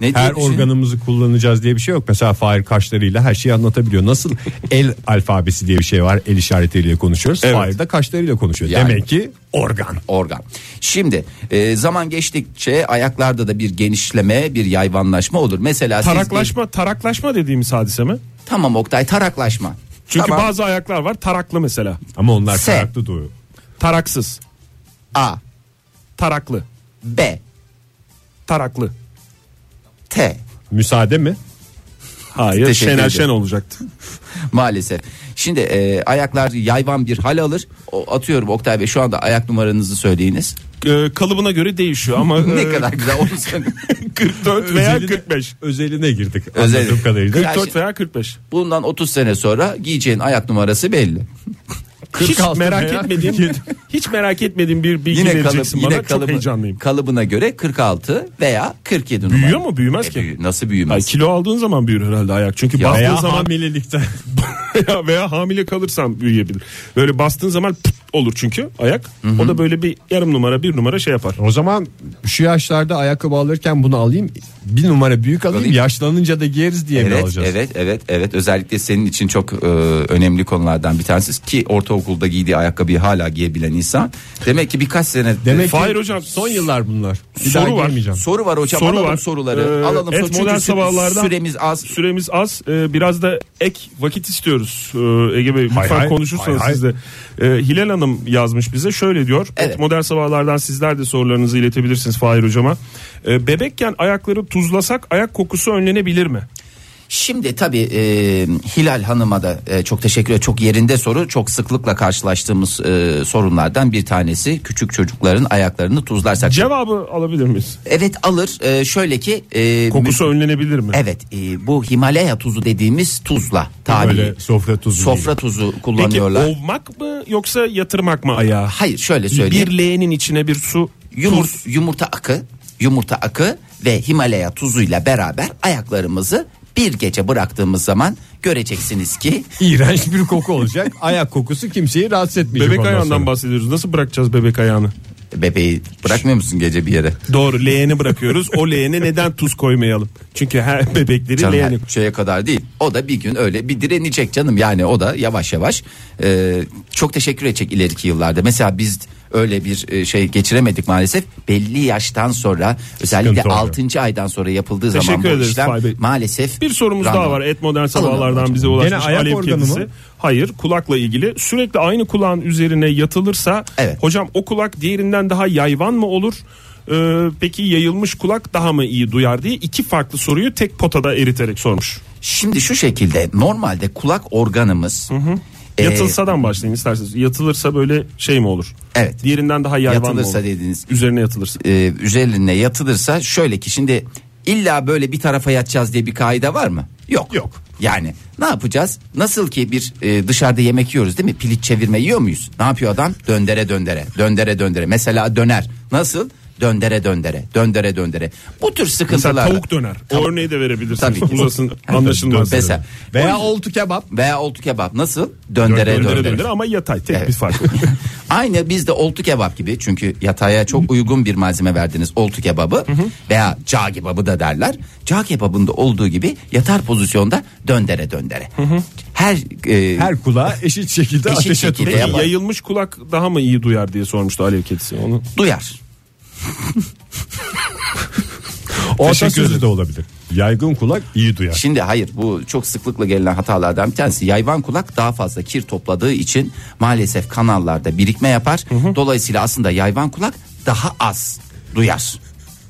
S4: Ne diye
S3: Her
S4: düşün-
S3: organımızı kullanacağız diye bir şey yok. Mesela Fahir kaşlarıyla her şeyi anlatabiliyor. Nasıl el alfabesi diye bir şey var. El işaretiyle konuşuyoruz. Fahir de kaşlarıyla konuşuyor.
S4: Yani.
S3: Demek ki organ.
S4: organ. Şimdi e, zaman geçtikçe ayaklarda da bir genişleme, bir yayvanlaşma olur. Mesela siz bir-
S5: Taraklaşma, taraklaşma dediğimiz hadise mi?
S4: tamam Oktay taraklaşma.
S5: Çünkü
S4: Tamam.
S5: bazı ayaklar var taraklı mesela.
S3: Ama onlar
S4: S.
S3: farklı duruyor.
S5: Taraksız,
S4: A,
S5: taraklı,
S4: B,
S5: taraklı.
S4: T
S3: Müsaade mi?
S5: Hayır,
S4: Teşekkür
S5: Şener
S4: ederim.
S5: Şen olacaktı.
S4: maalesef. Şimdi e, ayaklar yayvan bir hal alır. O, atıyorum Oktay Bey şu anda ayak numaranızı söyleyiniz.
S5: Ee, kalıbına göre değişiyor ama
S4: Ne
S5: e,
S4: kadar güzel onu söyle.
S5: 44 veya 45.
S3: Özeline girdik.
S4: Özel-
S3: Anladığım kadarıyla.
S4: Ya
S5: 44
S4: şimdi-
S5: veya 45.
S4: şey. Bundan 30 sene sonra giyeceğin ayak numarası belli.
S5: Hiç
S3: 46
S5: merak
S3: veya
S5: etmediğim, hiç merak etmediğim bir bilgi
S4: Yine kalıp
S5: vereceksin
S4: yine
S5: bana. Çok
S4: kalıbı,
S5: heyecanlıyım.
S4: kalıbına göre 46 veya 47 numara. E,
S5: Büyüyor mu büyümez ki?
S4: Büyü- Nasıl
S5: Ay,
S4: büyümez?
S5: kilo aldığın zaman büyür herhalde ayak. Çünkü
S4: Ya-
S5: bastığın
S3: Veya
S5: zaman
S3: hamilelikten.
S5: veya, veya hamile kalırsan büyüyebilir. Böyle bastığın zaman pıt olur çünkü ayak. O da böyle bir yarım numara bir numara şey yapar.
S3: O zaman şu yaşlarda ayakkabı alırken bunu alayım. Bir numara büyük alayım.
S4: Alayım.
S3: Yaşlanınca da giyeriz diye mi
S4: Evet,
S3: alacağız?
S4: evet, evet, evet. Özellikle senin için çok e, önemli konulardan bir tanesi ki ortaokulda giydiği ayakkabıyı hala giyebilen insan. Demek ki birkaç sene
S3: Demek
S5: E, Fahir
S3: ki
S5: hocam,
S3: son yıllar bunlar. Bir
S5: soru
S3: daha
S5: var.
S3: giymeyeceğim.
S4: soru var hocam.
S5: Soru
S4: alalım
S5: var.
S4: soruları.
S5: Ee,
S4: alalım
S5: et
S4: soru. Çünkü
S5: modern
S4: sü-
S5: sabahlardan-
S4: süremiz az.
S5: Süremiz az. Ee, biraz da ek vakit istiyoruz. Ee, Ege Bey lütfen
S3: Hay hay,
S5: konuşursanız
S3: hay
S5: siz de. Ee, Hilal Hanım yazmış bize şöyle diyor.
S4: Evet.
S5: Modern sabahlardan sizler de sorularınızı iletebilirsiniz Fahir hocama. Ee, bebekken ayakları tuzlasak ayak kokusu önlenebilir mi?
S4: Şimdi tabii e, Hilal Hanım'a da e, çok teşekkür ederim. Çok yerinde soru. Çok sıklıkla karşılaştığımız e, sorunlardan bir tanesi. Küçük çocukların ayaklarını tuzlarsak.
S5: Cevabı alabilir miyiz?
S4: evet alır. E, şöyle ki. e,
S5: Kokusu önlenebilir mi?
S4: Evet e, bu Himalaya tuzu dediğimiz tuzla tabi.
S3: Böyle sofra tuzu
S4: Sofra tuzu
S5: Peki
S4: kullanıyorlar.
S5: ovmak mı yoksa yatırmak mı ayağı?
S4: Hayır şöyle söyleyeyim.
S5: Bir leğenin içine bir su
S4: Yumur- yumurta akı, yumurta akı ve Himalaya tuzuyla beraber ayaklarımızı bir gece bıraktığımız zaman göreceksiniz ki
S3: İğrenç bir koku olacak. Ayak kokusu kimseyi rahatsız etmeyecek.
S5: Bebek
S3: ondan
S5: ayağından
S3: sonra.
S5: bahsediyoruz. Nasıl bırakacağız bebek ayağını?
S4: bebeği bırakmıyor musun gece bir yere?
S5: Doğru leğeni bırakıyoruz. O leğene neden tuz koymayalım? Çünkü her bebekleri
S4: Canım,
S5: leğeni.
S4: her şeye kadar değil. O da bir gün öyle bir direnecek canım. Yani o da yavaş yavaş e, çok teşekkür edecek ileriki yıllarda. Mesela biz öyle bir e, şey geçiremedik maalesef. Belli yaştan sonra özellikle
S3: oluyor.
S4: 6. aydan sonra yapıldığı zaman
S5: Teşekkür
S4: bu
S5: ederiz Fahir Bey.
S4: işlem maalesef
S5: Bir sorumuz
S4: random.
S5: daha var. Et modern
S4: Alın
S5: sabahlardan
S4: hocam.
S5: bize ulaşmış
S3: Gene ayak
S5: alev
S3: organı
S5: kedisi.
S3: mı?
S5: Hayır kulakla ilgili. Sürekli aynı kulağın üzerine yatılırsa
S4: Evet.
S5: hocam o kulak diğerinden daha yayvan mı olur? Ee, peki yayılmış kulak daha mı iyi duyar diye iki farklı soruyu tek potada eriterek sormuş.
S4: Şimdi şu şekilde normalde kulak organımız e,
S5: Yatılsadan başlayın isterseniz. Yatılırsa böyle şey mi olur?
S4: Evet.
S5: Diğerinden daha yayvan mı
S4: Yatılırsa
S5: olur?
S4: dediğiniz-
S5: Üzerine yatılırsa.
S4: e, üzerine yatılırsa şöyle ki şimdi illa böyle bir tarafa yatacağız diye bir kaide var mı? Yok.
S3: Yok.
S4: Yani ne yapacağız? Nasıl ki bir e, dışarıda yemek yiyoruz değil mi? Piliç çevirme yiyor muyuz? Ne yapıyor adam? Döndere döndere. Döndere döndere. Mesela döner. Nasıl? Döndere döndere. Döndere döndere. Bu tür sıkıntılar.
S5: Mesela tavuk döner. O örneği de verebilirsiniz.
S4: Tabii.
S5: Uzasın anlaşılmaz.
S4: Mesela
S3: Veya oltu kebap.
S4: veya oltu kebap nasıl? Döndere
S5: Döndere
S4: döndere.
S5: döndere, ama yatay tek
S4: Evet.
S5: bir fark.
S4: Aynı bizde oltu kebap gibi çünkü yataya çok uygun bir malzeme verdiniz oltu kebabı veya cağ kebabı da derler. Cağ kebabında olduğu gibi yatar pozisyonda döndere döndere. Her, e,
S3: Her kulağa eşit şekilde
S4: Eşit
S3: ateşe
S4: şekilde
S3: tutacak.
S5: Peki,
S4: yapar.
S5: yayılmış kulak daha mı iyi duyar diye sormuştu Alev Kedisi. Onu
S4: duyar.
S3: Orta
S5: Teşekkür
S3: sözü
S5: ederim.
S3: de olabilir. Yaygın kulak iyi duyar.
S4: Şimdi hayır bu çok sıklıkla gelen hatalardan bir tanesi. Yayvan kulak daha fazla kir topladığı için maalesef kanallarda birikme yapar. Dolayısıyla aslında yayvan kulak daha az duyar.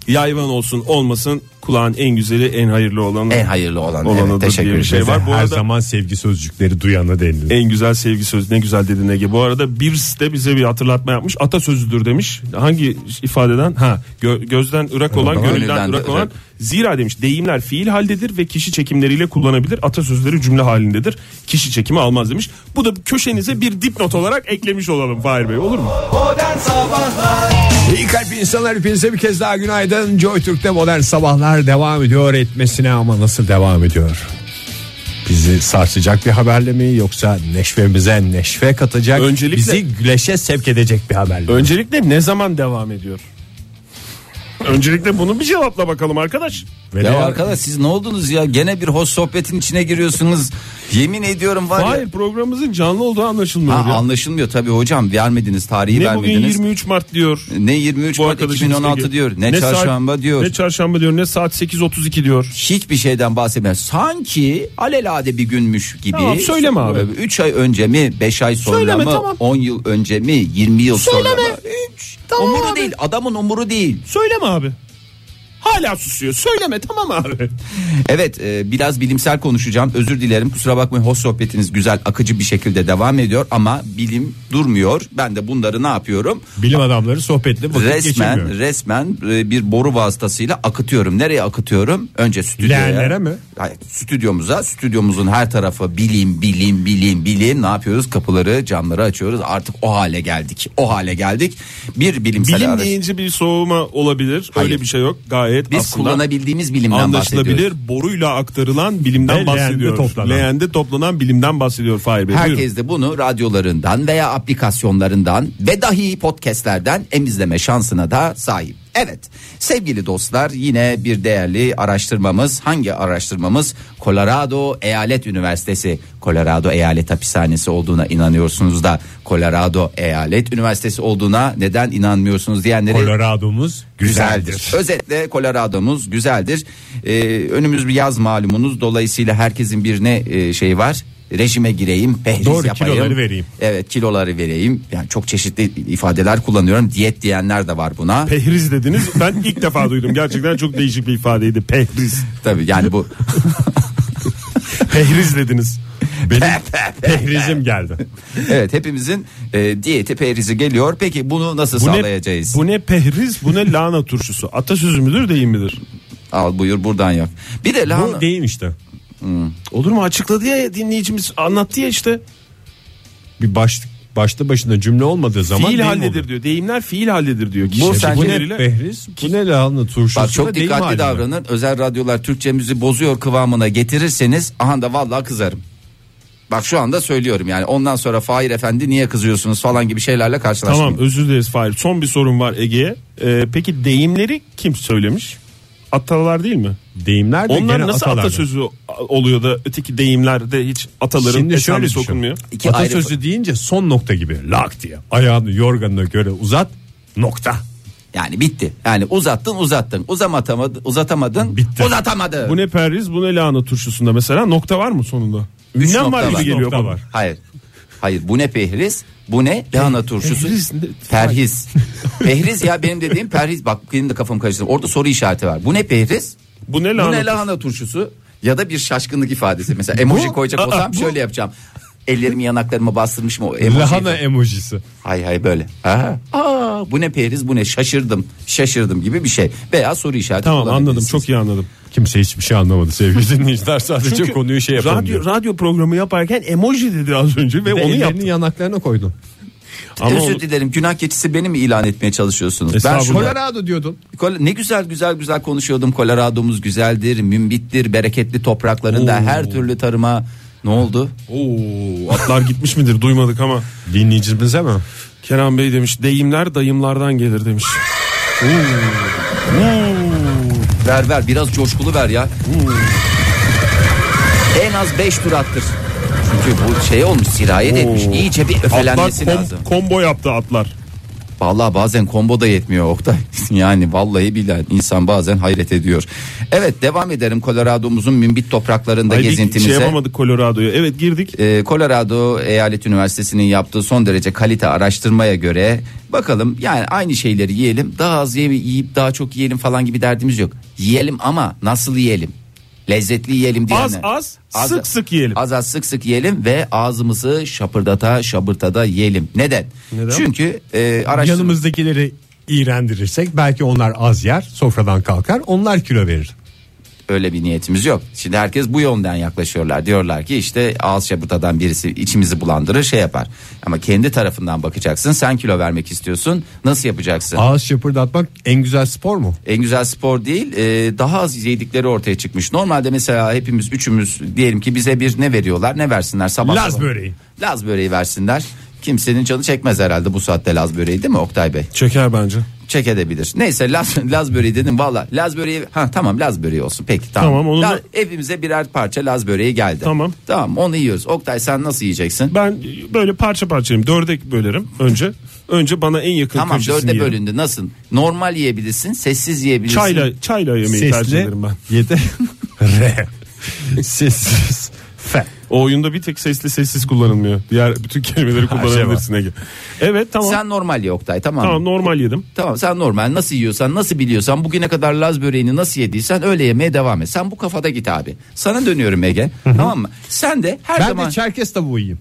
S5: yayvan olsun olmasın kulağın en güzeli en hayırlı olanı.
S4: En hayırlı olan.
S5: Olanı da
S4: evet, teşekkür
S5: diye bir
S4: ederim.
S5: şey var. Bu
S3: Her
S5: arada
S3: zaman sevgi sözcükleri duyanı denir.
S5: en güzel sevgi sözü ne güzel dedin Ege. Bu arada Birs de bize bir hatırlatma yapmış. Atasözüdür demiş. Hangi ifadeden? Ha gö- gözden ırak olan
S4: Gönülden
S5: gönülden
S4: de
S5: ırak olan.
S4: ırak.
S5: Zira demiş deyimler fiil haldedir ve kişi çekimleriyle kullanabilir. Atasözleri cümle halindedir. Kişi çekimi almaz demiş. Bu da köşenize bir dipnot olarak eklemiş olalım Fahir Bey olur mu?
S2: Modern Sabahlar
S3: İyi E, kalp insanlar hepinize bir kez daha günaydın. Joy Türk'te modern sabahlar devam ediyor etmesine ama nasıl devam ediyor? Bizi sarsacak bir haberle mi yoksa neşvemize neşve katacak
S5: Öncelikle-
S3: bizi güleşe sevk edecek bir haberle mi?
S5: Öncelikle ne zaman devam ediyor? Öncelikle bunu bir cevapla bakalım arkadaş.
S3: Ve
S4: Ya
S3: de-
S4: arkadaş siz E ne oldunuz ya? Gene bir hoş sohbetin içine giriyorsunuz. Yemin ediyorum var ya.
S5: Hayır programımızın canlı olduğu anlaşılmıyor.
S4: Ha,
S5: ya.
S4: anlaşılmıyor tabii hocam. Vermediniz tarihi
S5: ne bugün
S4: vermediniz.
S5: 23 Mart diyor.
S4: Ne 23
S5: Bu
S4: Mart
S5: arkadaşımız
S4: 2016
S5: Ege.
S4: diyor. Ne, çarşamba
S5: saat-
S4: diyor.
S5: Ne çarşamba diyor ne saat 8.32 diyor.
S4: Hiçbir şeyden bahsetmiyor. Sanki alelade bir günmüş gibi.
S5: Tamam, söyleme abi.
S4: 3 ay önce mi, 5 ay sonra
S5: Söyleme,
S4: mı,
S5: tamam.
S4: 10 yıl önce mi, 20 yıl sonra mı? Hiç. umuru değil. Adamın umuru değil.
S5: Söyleme abi. Hala susuyor. Söyleme tamam abi.
S4: Evet e, biraz bilimsel konuşacağım özür dilerim kusura bakmayın hoş sohbetiniz güzel akıcı bir şekilde devam ediyor ama bilim durmuyor ben de bunları ne yapıyorum
S3: bilim adamları sohbetle vakit
S4: resmen
S3: geçirmiyor.
S4: resmen e, bir boru vasıtasıyla akıtıyorum nereye akıtıyorum önce stüdyoya
S3: Leğenlere mi?
S4: Hayır, stüdyomuza stüdyomuzun her tarafı bilim bilim bilim bilim ne yapıyoruz kapıları camları açıyoruz artık o hale geldik o hale geldik bir bilimsel
S5: Bilim
S4: araç
S5: deyince bir soğuma olabilir.
S4: Hayır.
S5: Öyle bir şey yok. Gayet
S4: biz
S5: aslında
S4: kullanabildiğimiz bilimden bahsediyoruz.
S5: anlaşılabilir boruyla aktarılan bilimden
S3: Ve leğende
S5: bahsediyor.
S3: toplanan.
S5: Leğende toplanan bilimden bahsediyor Fahir Bey. Buyurun.
S4: Herkes de bunu radyolarından veya aplikasyonlarından ve dahi podcastlerden emizleme şansına da sahip. Evet sevgili dostlar yine bir değerli araştırmamız hangi araştırmamız Colorado Eyalet Üniversitesi Colorado Eyalet Hapishanesi olduğuna inanıyorsunuz da Colorado Eyalet Üniversitesi olduğuna neden inanmıyorsunuz diyenleri
S3: Colorado'muz güzeldir.
S4: Özetle Colorado'muz güzeldir. Ee, önümüz bir yaz malumunuz. Dolayısıyla herkesin bir ne e, şeyi var? Rejime gireyim, pehriz
S3: Doğru,
S4: yapayım.
S3: kiloları vereyim.
S4: Evet, kiloları vereyim. Yani çok çeşitli ifadeler kullanıyorum. Diyet diyenler de var buna.
S5: Pehriz dediniz. Ben ilk defa duydum. Gerçekten çok değişik bir ifadeydi. Pehriz.
S4: Tabii yani bu
S5: Pehriz dediniz.
S3: Benim pehrizim geldi.
S4: Evet hepimizin e, diyeti perizi geliyor. Peki bunu nasıl
S5: Bu ne,
S4: sağlayacağız?
S5: bu ne pehriz bu ne lahana turşusu. Atasözü müdür değil midir?
S4: Al buyur buradan yok. Bir de lahana. Hmm.
S3: Bu deyim işte.
S5: Olur mu açıkladı ya dinleyicimiz anlattı ya işte.
S3: Bir baş, başta başına cümle olmadığı zaman
S5: fiil
S3: deyim
S5: halledir
S3: olur.
S5: diyor. Deyimler fiil halledir diyor.
S4: Bu
S5: Kişi
S4: sence-
S3: Bu
S5: cümleleriyle-
S3: ne pehriz? Bu ne lahana turşusu?
S4: Bak çok
S3: da deyim
S4: dikkatli
S3: haline.
S4: davranın. Özel radyolar Türkçemizi bozuyor kıvamına getirirseniz aha da vallahi kızarım. Bak şu anda söylüyorum yani ondan sonra Fahir Efendi niye kızıyorsunuz falan gibi şeylerle karşılaşmayın.
S5: Tamam özür dileriz Fahir. Son bir sorun var Ege'ye. Ee, peki deyimleri kim söylemiş? Atalar değil mi?
S3: Deyimler de
S5: Onlar
S3: gene
S5: nasıl
S3: atalardan.
S5: atasözü oluyor da öteki deyimlerde hiç ataların
S3: Şimdi şöyle
S5: esamesi
S3: düşün.
S5: sokulmuyor?
S4: İki
S3: Atasözü
S4: ayrı-
S3: deyince son nokta gibi lak diye ayağını yorganına göre uzat nokta.
S4: Yani bitti. Yani uzattın uzattın. Uzamatamadı, uzatamadın.
S3: Bitti.
S4: Uzatamadı.
S5: Bu ne periz bu ne lahana turşusunda mesela nokta var mı sonunda?
S4: Üç
S5: Ünlem
S4: nokta
S5: var gibi
S4: var.
S5: geliyor
S3: Nokta
S5: bana.
S3: var.
S4: Hayır. Hayır bu ne pehriz? Bu ne lahana turşusu?
S5: pehriz ne?
S4: Perhiz. pehriz ya benim dediğim perhiz. Bak benim de kafam karıştı. Orada soru işareti var. Bu ne pehriz?
S5: Bu ne
S4: Bu
S5: lahana?
S4: ne lahana turşusu? Ya da bir şaşkınlık ifadesi. Mesela emoji
S5: Bu-
S4: koyacak
S5: Aa,
S4: olsam
S5: bu-
S4: şöyle yapacağım. Ellerimi yanaklarıma bastırmış mı o emoji?
S3: Lahana emojisi.
S4: Hay hay böyle. Aha. Aa, bu ne pehriz bu ne şaşırdım. Şaşırdım gibi bir şey. Veya soru işareti.
S5: Tamam anladım
S4: bulabilirsiniz.
S5: çok iyi anladım.
S3: Kimse hiçbir şey anlamadı sevgili dinleyiciler. Sadece
S5: Çünkü
S3: konuyu şey yapalım
S5: radyo,
S3: diyor.
S5: radyo programı yaparken emoji dedi az önce ve
S3: Ve
S5: onu
S3: ellerini
S5: yaptı.
S3: yanaklarına koydun.
S5: Ama
S4: Özür
S5: o-
S4: dilerim günah keçisi beni mi ilan etmeye çalışıyorsunuz? Ben
S5: Estağfurullah.
S4: şurada-
S3: Colorado diyordun.
S4: Kol- Ne güzel güzel güzel konuşuyordum. Colorado'muz güzeldir, mümbittir, bereketli topraklarında her türlü tarıma ne oldu?
S5: Oo, atlar gitmiş midir duymadık ama.
S3: Dinleyicimize mi?
S5: Kenan Bey demiş deyimler dayımlardan gelir demiş.
S4: Ver ver biraz coşkulu ver ya. Hmm. en az 5 tur attır. Çünkü bu şey olmuş sirayet etmiş. İyice bir öfelenmesi
S5: Atlar kom-
S4: lazım.
S5: kombo yaptı atlar.
S4: Vallahi bazen kombo da yetmiyor Oktay. yani vallahi billahi insan bazen hayret ediyor. Evet devam edelim Colorado'muzun mümbit topraklarında
S5: Ay, bir
S4: gezintimize.
S5: Şey yapamadık Colorado'ya. Evet girdik.
S4: Ee, Colorado Eyalet Üniversitesi'nin yaptığı son derece kalite araştırmaya göre bakalım yani aynı şeyleri yiyelim daha az ye- yiyip daha çok yiyelim falan gibi derdimiz yok. Yiyelim ama nasıl yiyelim? Lezzetli yiyelim diye.
S5: Az az, sık sık yiyelim.
S4: Az az sık sık yiyelim ve ağzımızı şapırdata şapırtada yiyelim. Neden? Çünkü e, araştırma...
S3: Yanımızdakileri iğrendirirsek belki onlar az yer sofradan kalkar onlar kilo verir.
S4: öyle bir niyetimiz yok. Şimdi herkes bu yönden yaklaşıyorlar. Diyorlar ki işte ağız şabırtadan birisi içimizi bulandırır şey yapar. Ama kendi tarafından bakacaksın. Sen kilo vermek istiyorsun. Nasıl yapacaksın?
S3: Ağız şapırdatmak en güzel spor mu?
S4: En güzel spor değil e, daha az yedikleri ortaya çıkmış. Normalde mesela hepimiz üçümüz diyelim ki bize bir ne veriyorlar ne versinler sabah.
S3: Laz
S4: sabah.
S3: böreği.
S4: Laz böreği versinler. Kimsenin canı çekmez herhalde bu saatte Laz böreği değil mi Oktay Bey?
S5: Çeker bence.
S4: Çek edebilir. Neyse Laz, Laz böreği dedim valla Laz böreği ha tamam Laz böreği olsun peki tamam.
S5: Tamam, onu da-
S4: La- Evimize birer parça Laz böreği geldi.
S5: Tamam.
S4: Tamam onu yiyoruz. Oktay sen nasıl yiyeceksin?
S5: Ben böyle parça parçayım. Dörde bölerim önce. Önce bana en yakın
S4: Tamam
S5: köşesini
S4: dörde
S5: yerim.
S4: bölündü nasıl? Normal yiyebilirsin sessiz yiyebilirsin.
S5: Çayla, çayla yemeği tercih
S3: Sesli
S5: ederim ben.
S3: yedi re sessiz fe.
S5: O oyunda bir tek sesli sessiz kullanılmıyor. Diğer bütün kelimeleri kullanabilirsin Ege. Evet tamam.
S4: Sen normal ye Oktay tamam mı?
S5: Tamam normal yedim.
S4: Tamam sen normal nasıl yiyorsan nasıl biliyorsan bugüne kadar Laz böreğini nasıl yediysen öyle yemeye devam et. Sen bu kafada git abi. Sana dönüyorum Ege tamam mı? Sen de her
S3: Ben
S4: zaman...
S3: de Çerkes tavuğu yiyeyim.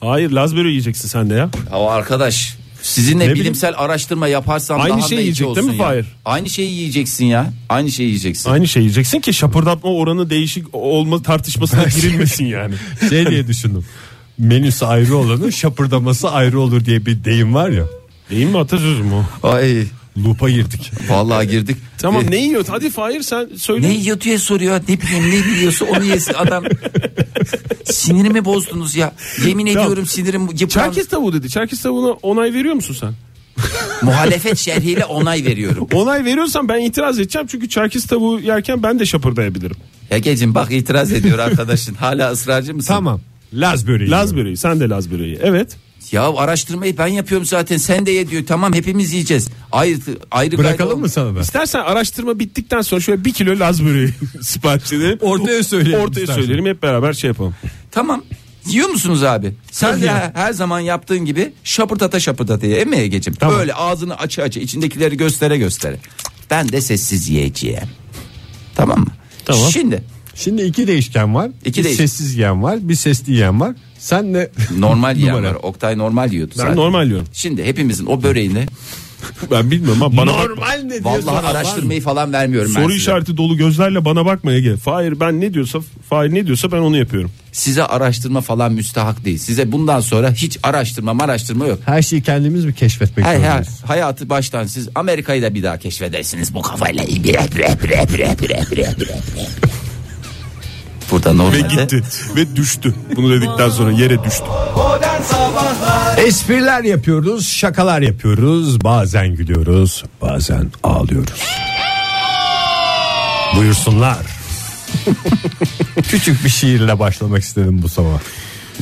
S5: Hayır Laz böreği yiyeceksin sen de ya.
S4: o arkadaş sizinle
S5: Ne
S4: bilimsel araştırma yaparsam
S5: Aynı
S4: daha
S5: şeyi
S4: da iyi
S5: yiyecek
S4: olsun
S5: değil mi
S4: ya.
S5: Fahir?
S4: Aynı şeyi yiyeceksin ya. Aynı şeyi yiyeceksin.
S5: Aynı şey yiyeceksin ki şapırdatma oranı değişik olma tartışmasına girilmesin yani.
S3: Şey diye düşündüm. Menüsü ayrı olanın şapırdaması ayrı olur diye bir deyim var ya.
S5: Değil mi atasözü mü o?
S4: Ay
S3: Lupa girdik.
S4: vallahi girdik.
S5: Tamam
S4: Ee,
S5: ne yiyor? Hadi Fahir sen söyle.
S4: ne yiyor diye soruyor. Ne bileyim ne biliyorsa onu yesin adam. Sinirimi bozdunuz ya. Yemin ediyorum sinirim yıpran.
S5: Çerkez tavuğu dedi. Çerkez tavuğuna onay veriyor musun sen?
S4: Muhalefet şerhiyle onay veriyorum.
S5: Onay veriyorsan ben itiraz edeceğim. Çünkü Çerkez tavuğu yerken ben de şapırdayabilirim.
S4: Egeciğim bak itiraz ediyor arkadaşın. Hala ısrarcı mısın?
S3: Tamam. Laz böreği.
S5: Laz
S3: yiyorum.
S5: böreği. Sen de Laz böreği. Evet.
S4: Ya araştırmayı ben yapıyorum zaten. Sen de ye diyor. Tamam hepimiz yiyeceğiz. Ayrı ayrı gayrı
S3: Bırakalım
S4: olmaz.
S3: mı sana da?
S5: İstersen araştırma bittikten sonra şöyle bir kilo Laz böreği sipariş edelim.
S3: Ortaya söyleyelim
S5: Ortaya
S3: istersen.
S5: söyleyelim hep beraber şey yapalım.
S4: Tamam. Yiyor musunuz abi? Sen de her- her zaman yaptığın gibi şapırtata şapırtata ye. Emi Ege'cim. Böyle ağzını açı açı içindekileri göstere göstere. Ben de sessiz yiyeceğim. Tamam mı?
S5: Tamam.
S4: Şimdi
S3: Şimdi iki değişken var.
S4: İki
S3: bir
S4: değiş-
S3: sessiz yiyen var. Bir sesli yiyen var. Sen de
S4: Normal yiyen
S3: Numara.
S4: var. Oktay normal yiyordu
S5: Ben
S4: zaten.
S5: normal yiyorum.
S4: Şimdi hepimizin o böreğini
S5: Ben bilmiyorum ama bana bak-
S3: normal ne diyorsun?
S4: vallahi araştırmayı falan vermiyorum ben
S5: soru
S4: size.
S5: işareti dolu gözlerle bana bakma Ege. Fahir ben ne diyorsa Fahir ne diyorsa ben onu yapıyorum.
S4: Size araştırma falan müstahak değil. Size bundan sonra hiç araştırma araştırma yok.
S3: Her şeyi kendimiz mi keşfetmek
S4: Hay hay,
S3: zorundayız?
S4: hayatı baştan siz Amerika'yı da bir daha keşfedersiniz bu kafayla. Bre, bre, bre, bre, bre, bre, bre. Burada ne
S5: Ve
S4: oldu?
S5: gitti ve düştü. Bunu dedikten sonra yere düştü.
S2: Modern Sabahlar
S3: Espriler yapıyoruz, şakalar yapıyoruz. Bazen gülüyoruz, bazen ağlıyoruz. Buyursunlar. Küçük bir şiirle başlamak istedim bu sabah.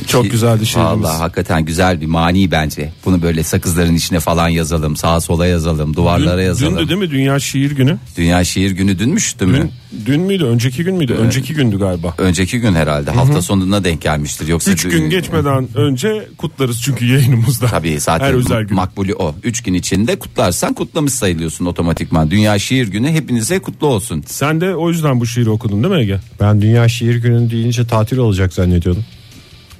S5: Çok şey. güzel bir şiirimiz.
S4: Vallahi hakikaten güzel bir mani bence. Bunu böyle sakızların içine falan yazalım. Sağa sola yazalım.
S5: Dün,
S4: Duvarlara yazalım.
S5: dündü değil mi Dünya Şiir Günü?
S4: Dünya şiir günü dünmüş değil mi?
S5: Dün, dün müydü? Önceki gün müydü? Önceki gündü galiba.
S4: Önceki gün herhalde. Hafta sonuna denk gelmiştir. Yoksa
S5: Üç
S4: dün-
S5: gün geçmeden önce kutlarız çünkü yayınımızda.
S4: Tabii zaten
S5: Her özel gün.
S4: makbulü o. Üç gün içinde kutlarsan kutlamış sayılıyorsun otomatikman. Dünya şiir günü hepinize kutlu olsun.
S5: Sen de o yüzden bu şiiri okudun değil mi Ege?
S3: Ben Dünya Şiir Günü deyince tatil olacak zannediyordum.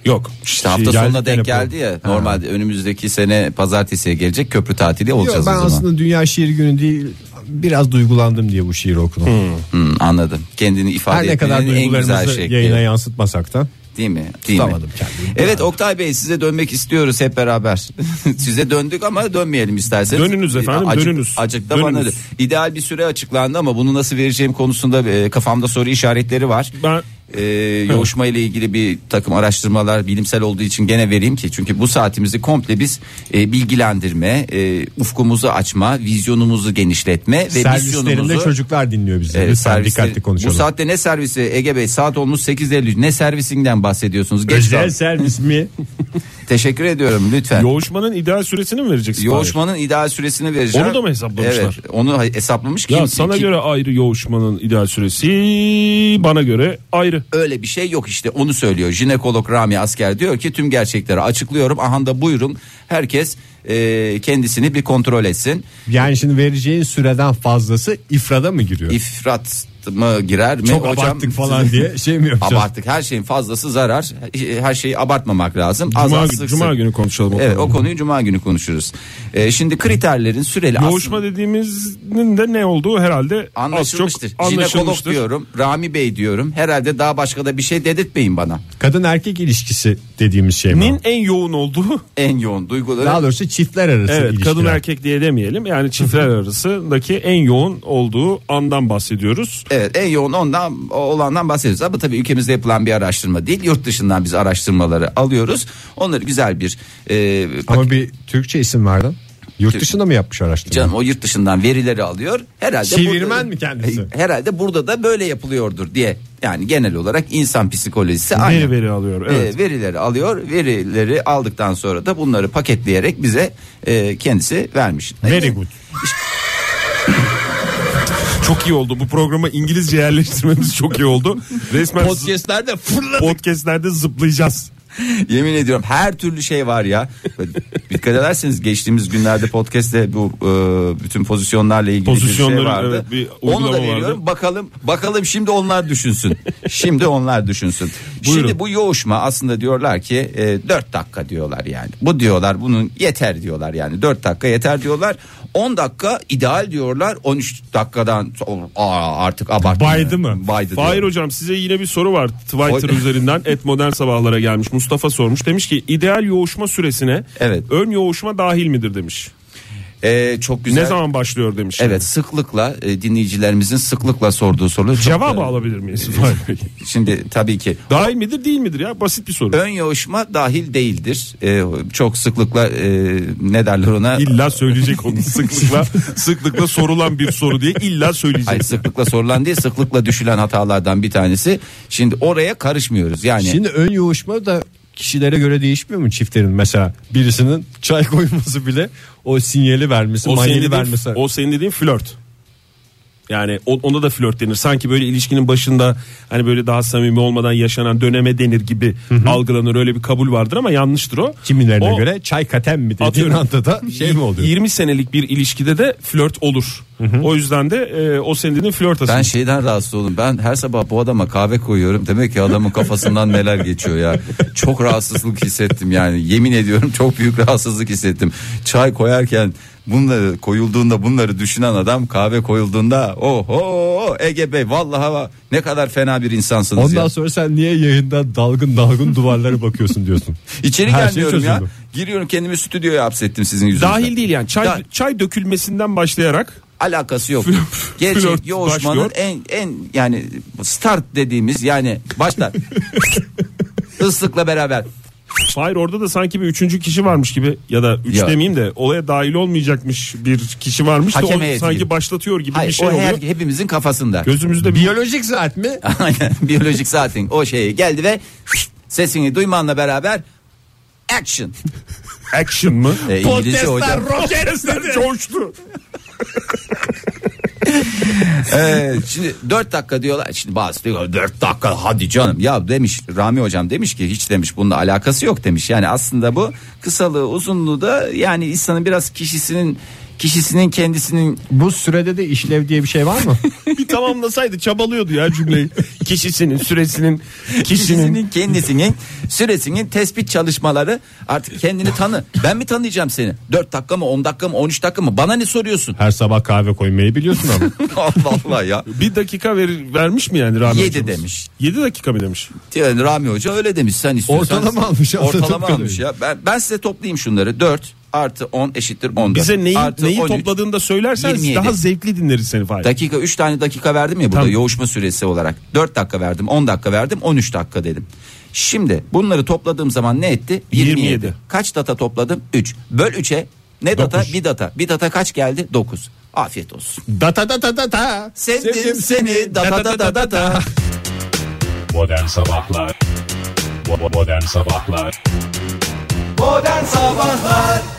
S5: Yok.
S4: İşte hafta
S3: Şey, geldi
S4: sonuna denk
S3: telefon.
S4: geldi ya. Normalde önümüzdeki sene pazartesiye gelecek köprü tatili olacağız
S3: ben
S4: o zaman.
S3: aslında Dünya Şiir Günü değil, biraz duygulandım diye bu şiiri okudum.
S4: Hmm, anladım. Kendini ifade
S3: Her ne
S4: etmenin
S3: kadar
S4: en güzel
S3: duygularımızı
S4: şekli.
S3: yayına yansıtmasak da.
S4: Değil mi? Değil mi?
S3: Tutamadım kendimi.
S4: Evet Oktay Bey size dönmek istiyoruz hep beraber. Size döndük ama dönmeyelim isterseniz.
S5: Dönünüz efendim,
S4: Acık-
S5: dönünüz.
S4: acık da
S5: Dönünüz.
S4: bana dön- ideal bir süre açıklandı ama bunu nasıl vereceğim konusunda e, kafamda soru işaretleri var.
S5: Ben-
S4: E, yoğuşma ile ilgili bir takım araştırmalar bilimsel olduğu için gene vereyim ki çünkü bu saatimizi komple biz e, bilgilendirme, e, ufkumuzu açma, vizyonumuzu genişletme ve
S3: Servislerinde
S4: misyonumuzu
S3: çocuklar dinliyor bizi.
S4: Evet,
S3: Lütfen
S4: servisleri-
S3: dikkatli konuşalım.
S4: Bu saatte ne servisi Ege Bey saat olmuş 8.53 ne servisinden bahsediyorsunuz? Geç
S3: Özel
S4: kal-
S3: servis mi?
S4: Teşekkür ediyorum lütfen.
S5: Yoğuşmanın ideal süresini mi vereceksin?
S4: Yoğuşmanın ideal süresini vereceğim.
S5: Onu da mı hesaplamışlar?
S4: Evet onu hay- hesaplamış.
S5: Ya
S4: Kim-
S5: sana
S4: kim-
S5: göre ayrı yoğuşmanın ideal süresi, bana göre ayrı.
S4: Öyle bir şey yok işte onu söylüyor. Jinekolog Rami Asker diyor ki tüm gerçekleri açıklıyorum. Aha da buyurun herkes e, kendisini bir kontrol etsin.
S3: Yani şimdi vereceğin süreden fazlası ifrada mı giriyor?
S4: İfrat mı girer mi?
S3: Çok
S4: Hocam-
S3: abarttık falan diye şey mi yapacağız?
S4: Abarttık her şeyin fazlası zarar. Her şeyi abartmamak lazım. Az
S5: Cuma,
S4: az
S5: günü-
S4: sık
S5: Cuma
S4: sık.
S5: günü konuşalım. o
S4: Evet
S5: konuyu.
S4: o konuyu cuma günü konuşuruz. E, şimdi kriterlerin süreli
S5: Yoğuşma dediğimizin de ne olduğu herhalde az çok
S4: Anlaşılmıştır. Jinekolog
S5: anlaşılmıştır.
S4: diyorum, Rami Bey diyorum. Herhalde daha başka da bir şey dedirtmeyin bana.
S3: Kadın erkek ilişkisi dediğimiz şey mi?
S5: Nin en yoğun olduğu
S4: En yoğun duyguları.
S3: Daha doğrusu çiftler arası
S5: evet
S3: ilişkiler.
S5: kadın erkek diye demeyelim yani çiftler arasındaki en yoğun olduğu andan bahsediyoruz.
S4: Evet en yoğun ondan o- olandan bahsediyoruz. Ama tabii ülkemizde yapılan bir araştırma değil. Yurt dışından biz araştırmaları alıyoruz. Onları güzel bir e,
S3: Ama bir Türkçe isim verdin. Yurt dışında mı yapmış araştırma?
S4: canım o yurt dışından verileri alıyor. Herhalde
S3: Çevirmen mi kendisi?
S4: E, Herhalde burada da böyle yapılıyordur diye. Yani genel olarak insan psikolojisi aynı.
S5: Veri veri alıyor. Evet.
S4: E, verileri alıyor. Verileri aldıktan sonra da bunları paketleyerek bize e, kendisi vermiş.
S3: Very good.
S5: Çok iyi oldu. Bu programa İngilizce yerleştirmemiz çok iyi oldu. Resmen zı-
S4: Podcastlerde fırladı.
S5: podcastlerde zıplayacağız.
S4: Yemin ediyorum her türlü şey var ya. Böyle Dikkat ederseniz geçtiğimiz günlerde podcast'te bu e, bütün pozisyonlarla ilgili bir şey
S5: Pozisyonları,
S4: vardı.
S5: evet, bir
S4: Onu da
S5: uygulama
S4: veriyorum.
S5: vardı.
S4: Bakalım bakalım şimdi onlar düşünsün. şimdi onlar düşünsün. Şimdi
S5: Buyurun.
S4: bu yoğuşma aslında diyorlar ki e, 4 dakika diyorlar yani. Bu diyorlar bunun yeter diyorlar yani. 4 dakika yeter diyorlar. 10 dakika ideal diyorlar. 13 dakikadan so- aa, artık abarttı.
S3: Baydı mı?
S4: Baydı.
S5: Fahir
S4: diyor.
S5: hocam size yine bir soru var. Twitter
S4: Oy.
S5: üzerinden et modern sabahlara gelmiş. Mustafa sormuş. Demiş ki ideal yoğuşma süresine
S4: Evet.
S5: ön yoğuşma dahil midir demiş.
S4: E, çok güzel.
S5: Ne zaman başlıyor demiş.
S4: Evet sıklıkla e, dinleyicilerimizin sıklıkla sorduğu soru. çok-
S5: Cevabı alabilir miyiz? Fahir Bey?
S4: Şimdi tabii ki
S5: Dahil midir değil midir ya basit bir soru.
S4: ön yoğuşma dahil değildir. Ee, çok sıklıkla e, ne derler ona?
S5: İlla söyleyecek onu sıklıkla sıklıkla sorulan bir soru diye illa söyleyecek.
S4: Hayır, sıklıkla sorulan değil sıklıkla düşülen hatalardan bir tanesi. Şimdi oraya karışmıyoruz yani.
S3: Şimdi ön yoğuşma da kişilere göre değişmiyor mu çiftlerin? Mesela birisinin çay koyması bile o sinyali vermesi,
S5: o senin
S3: manyeli
S5: dediğin,
S3: vermesi.
S5: o senin dediğin flört. Yani o- ona da flört denir. Sanki böyle ilişkinin başında hani böyle daha samimi olmadan yaşanan döneme denir gibi algılanır. Öyle bir kabul vardır ama yanlıştır o.
S3: Kimilerine
S5: O-
S3: göre çay katem mi dediğin
S5: Atıyorum.
S3: anda da şey mi oluyor?
S5: 20 senelik bir ilişkide de flört olur. O yüzden de e, o senenin flört asıl.
S4: Ben şeyden rahatsız oldum. Ben her sabah bu adama kahve koyuyorum. Demek ki adamın kafasından neler geçiyor ya. Çok rahatsızlık hissettim yani. Yemin ediyorum çok büyük rahatsızlık hissettim. Çay koyarken bunları koyulduğunda bunları düşünen adam kahve koyulduğunda oho Ege Bey vallahi va- ne kadar fena bir insansınız
S3: Ondan
S4: ya.
S3: sonra sen niye yayında dalgın dalgın duvarlara bakıyorsun diyorsun.
S4: İçeri
S3: Her şey
S4: gelmiyorum ya.
S3: çözüldü.
S4: Giriyorum kendimi stüdyoya hapsettim sizin yüzünüzden.
S5: Dahil değil yani çay
S4: Da-
S5: çay dökülmesinden başlayarak
S4: alakası yok.
S5: flört
S4: Gerçek yoğuşmanın
S5: başlıyor.
S4: en en yani start dediğimiz yani başlar. Islıkla beraber
S5: Hayır orada da sanki bir üçüncü kişi varmış gibi ya da üç
S4: Ya.
S5: demeyeyim de olaya dahil olmayacakmış bir kişi varmış da
S4: Hakem
S5: o
S4: heyeti
S5: sanki
S4: gibi.
S5: başlatıyor gibi
S4: Hayır,
S5: bir şey
S4: o her,
S5: oluyor.
S4: hepimizin kafasında.
S5: Gözümüzde bir
S3: Biyolojik saat mi?
S4: Aynen, Biyolojik saatin o şeyi geldi ve sesini duymanla beraber action.
S5: action mı?
S4: E, İngilizce hocam.
S5: Protestler coştu.
S4: Ee, şimdi 4 dakika diyorlar. Şimdi bazı diyor 4 dakika hadi canım. Ya demiş Rami hocam demiş ki hiç demiş bununla alakası yok demiş. Yani aslında bu kısalığı uzunluğu da yani insanın biraz kişisinin kişisinin kendisinin
S3: Bu sürede de işlev diye bir şey var mı?
S5: bir tamamlasaydı çabalıyordu ya cümleyi. Kişisinin, süresinin, kişinin.
S4: kişisinin kendisinin süresinin tespit çalışmaları artık kendini tanı. Ben mi tanıyacağım seni? 4 dakika mı 10 dakika mı 13 dakika mı? Bana ne soruyorsun?
S3: Her sabah kahve koymayı biliyorsun ama.
S4: Allah Allah ya.
S5: Bir dakika ver, vermiş mi yani Rami
S4: Yedi
S5: hocamız?
S4: demiş.
S5: Yedi dakika mı demiş?
S4: Yani Rami Hoca öyle demiş sen istiyorsan.
S3: Ortalama almış ya,
S4: Ortalama
S3: anladığım
S4: almış ya. Ben, ben size toplayayım şunları. 4 artı 10 eşittir 14.
S5: Bize neyi,
S4: artı
S5: neyi
S4: 13.
S5: topladığını da söylersen
S4: 27.
S5: daha zevkli dinleriz seni Fahir.
S4: Dakika 3 tane dakika verdim ya burada
S5: Tamam.
S4: yoğuşma süresi olarak. 4 dakika verdim 10 dakika verdim 13 dakika dedim. Şimdi bunları topladığım zaman ne etti?
S5: 27.
S4: Kaç data topladım? 3. Böl 3'e ne data?
S5: Dokuz.
S4: Bir data. Bir data kaç geldi? 9. Afiyet olsun.
S3: Data data data.
S4: Sevdim, seni data data data.
S1: Modern Sabahlar Bo- bo- Modern Sabahlar
S2: Modern Sabahlar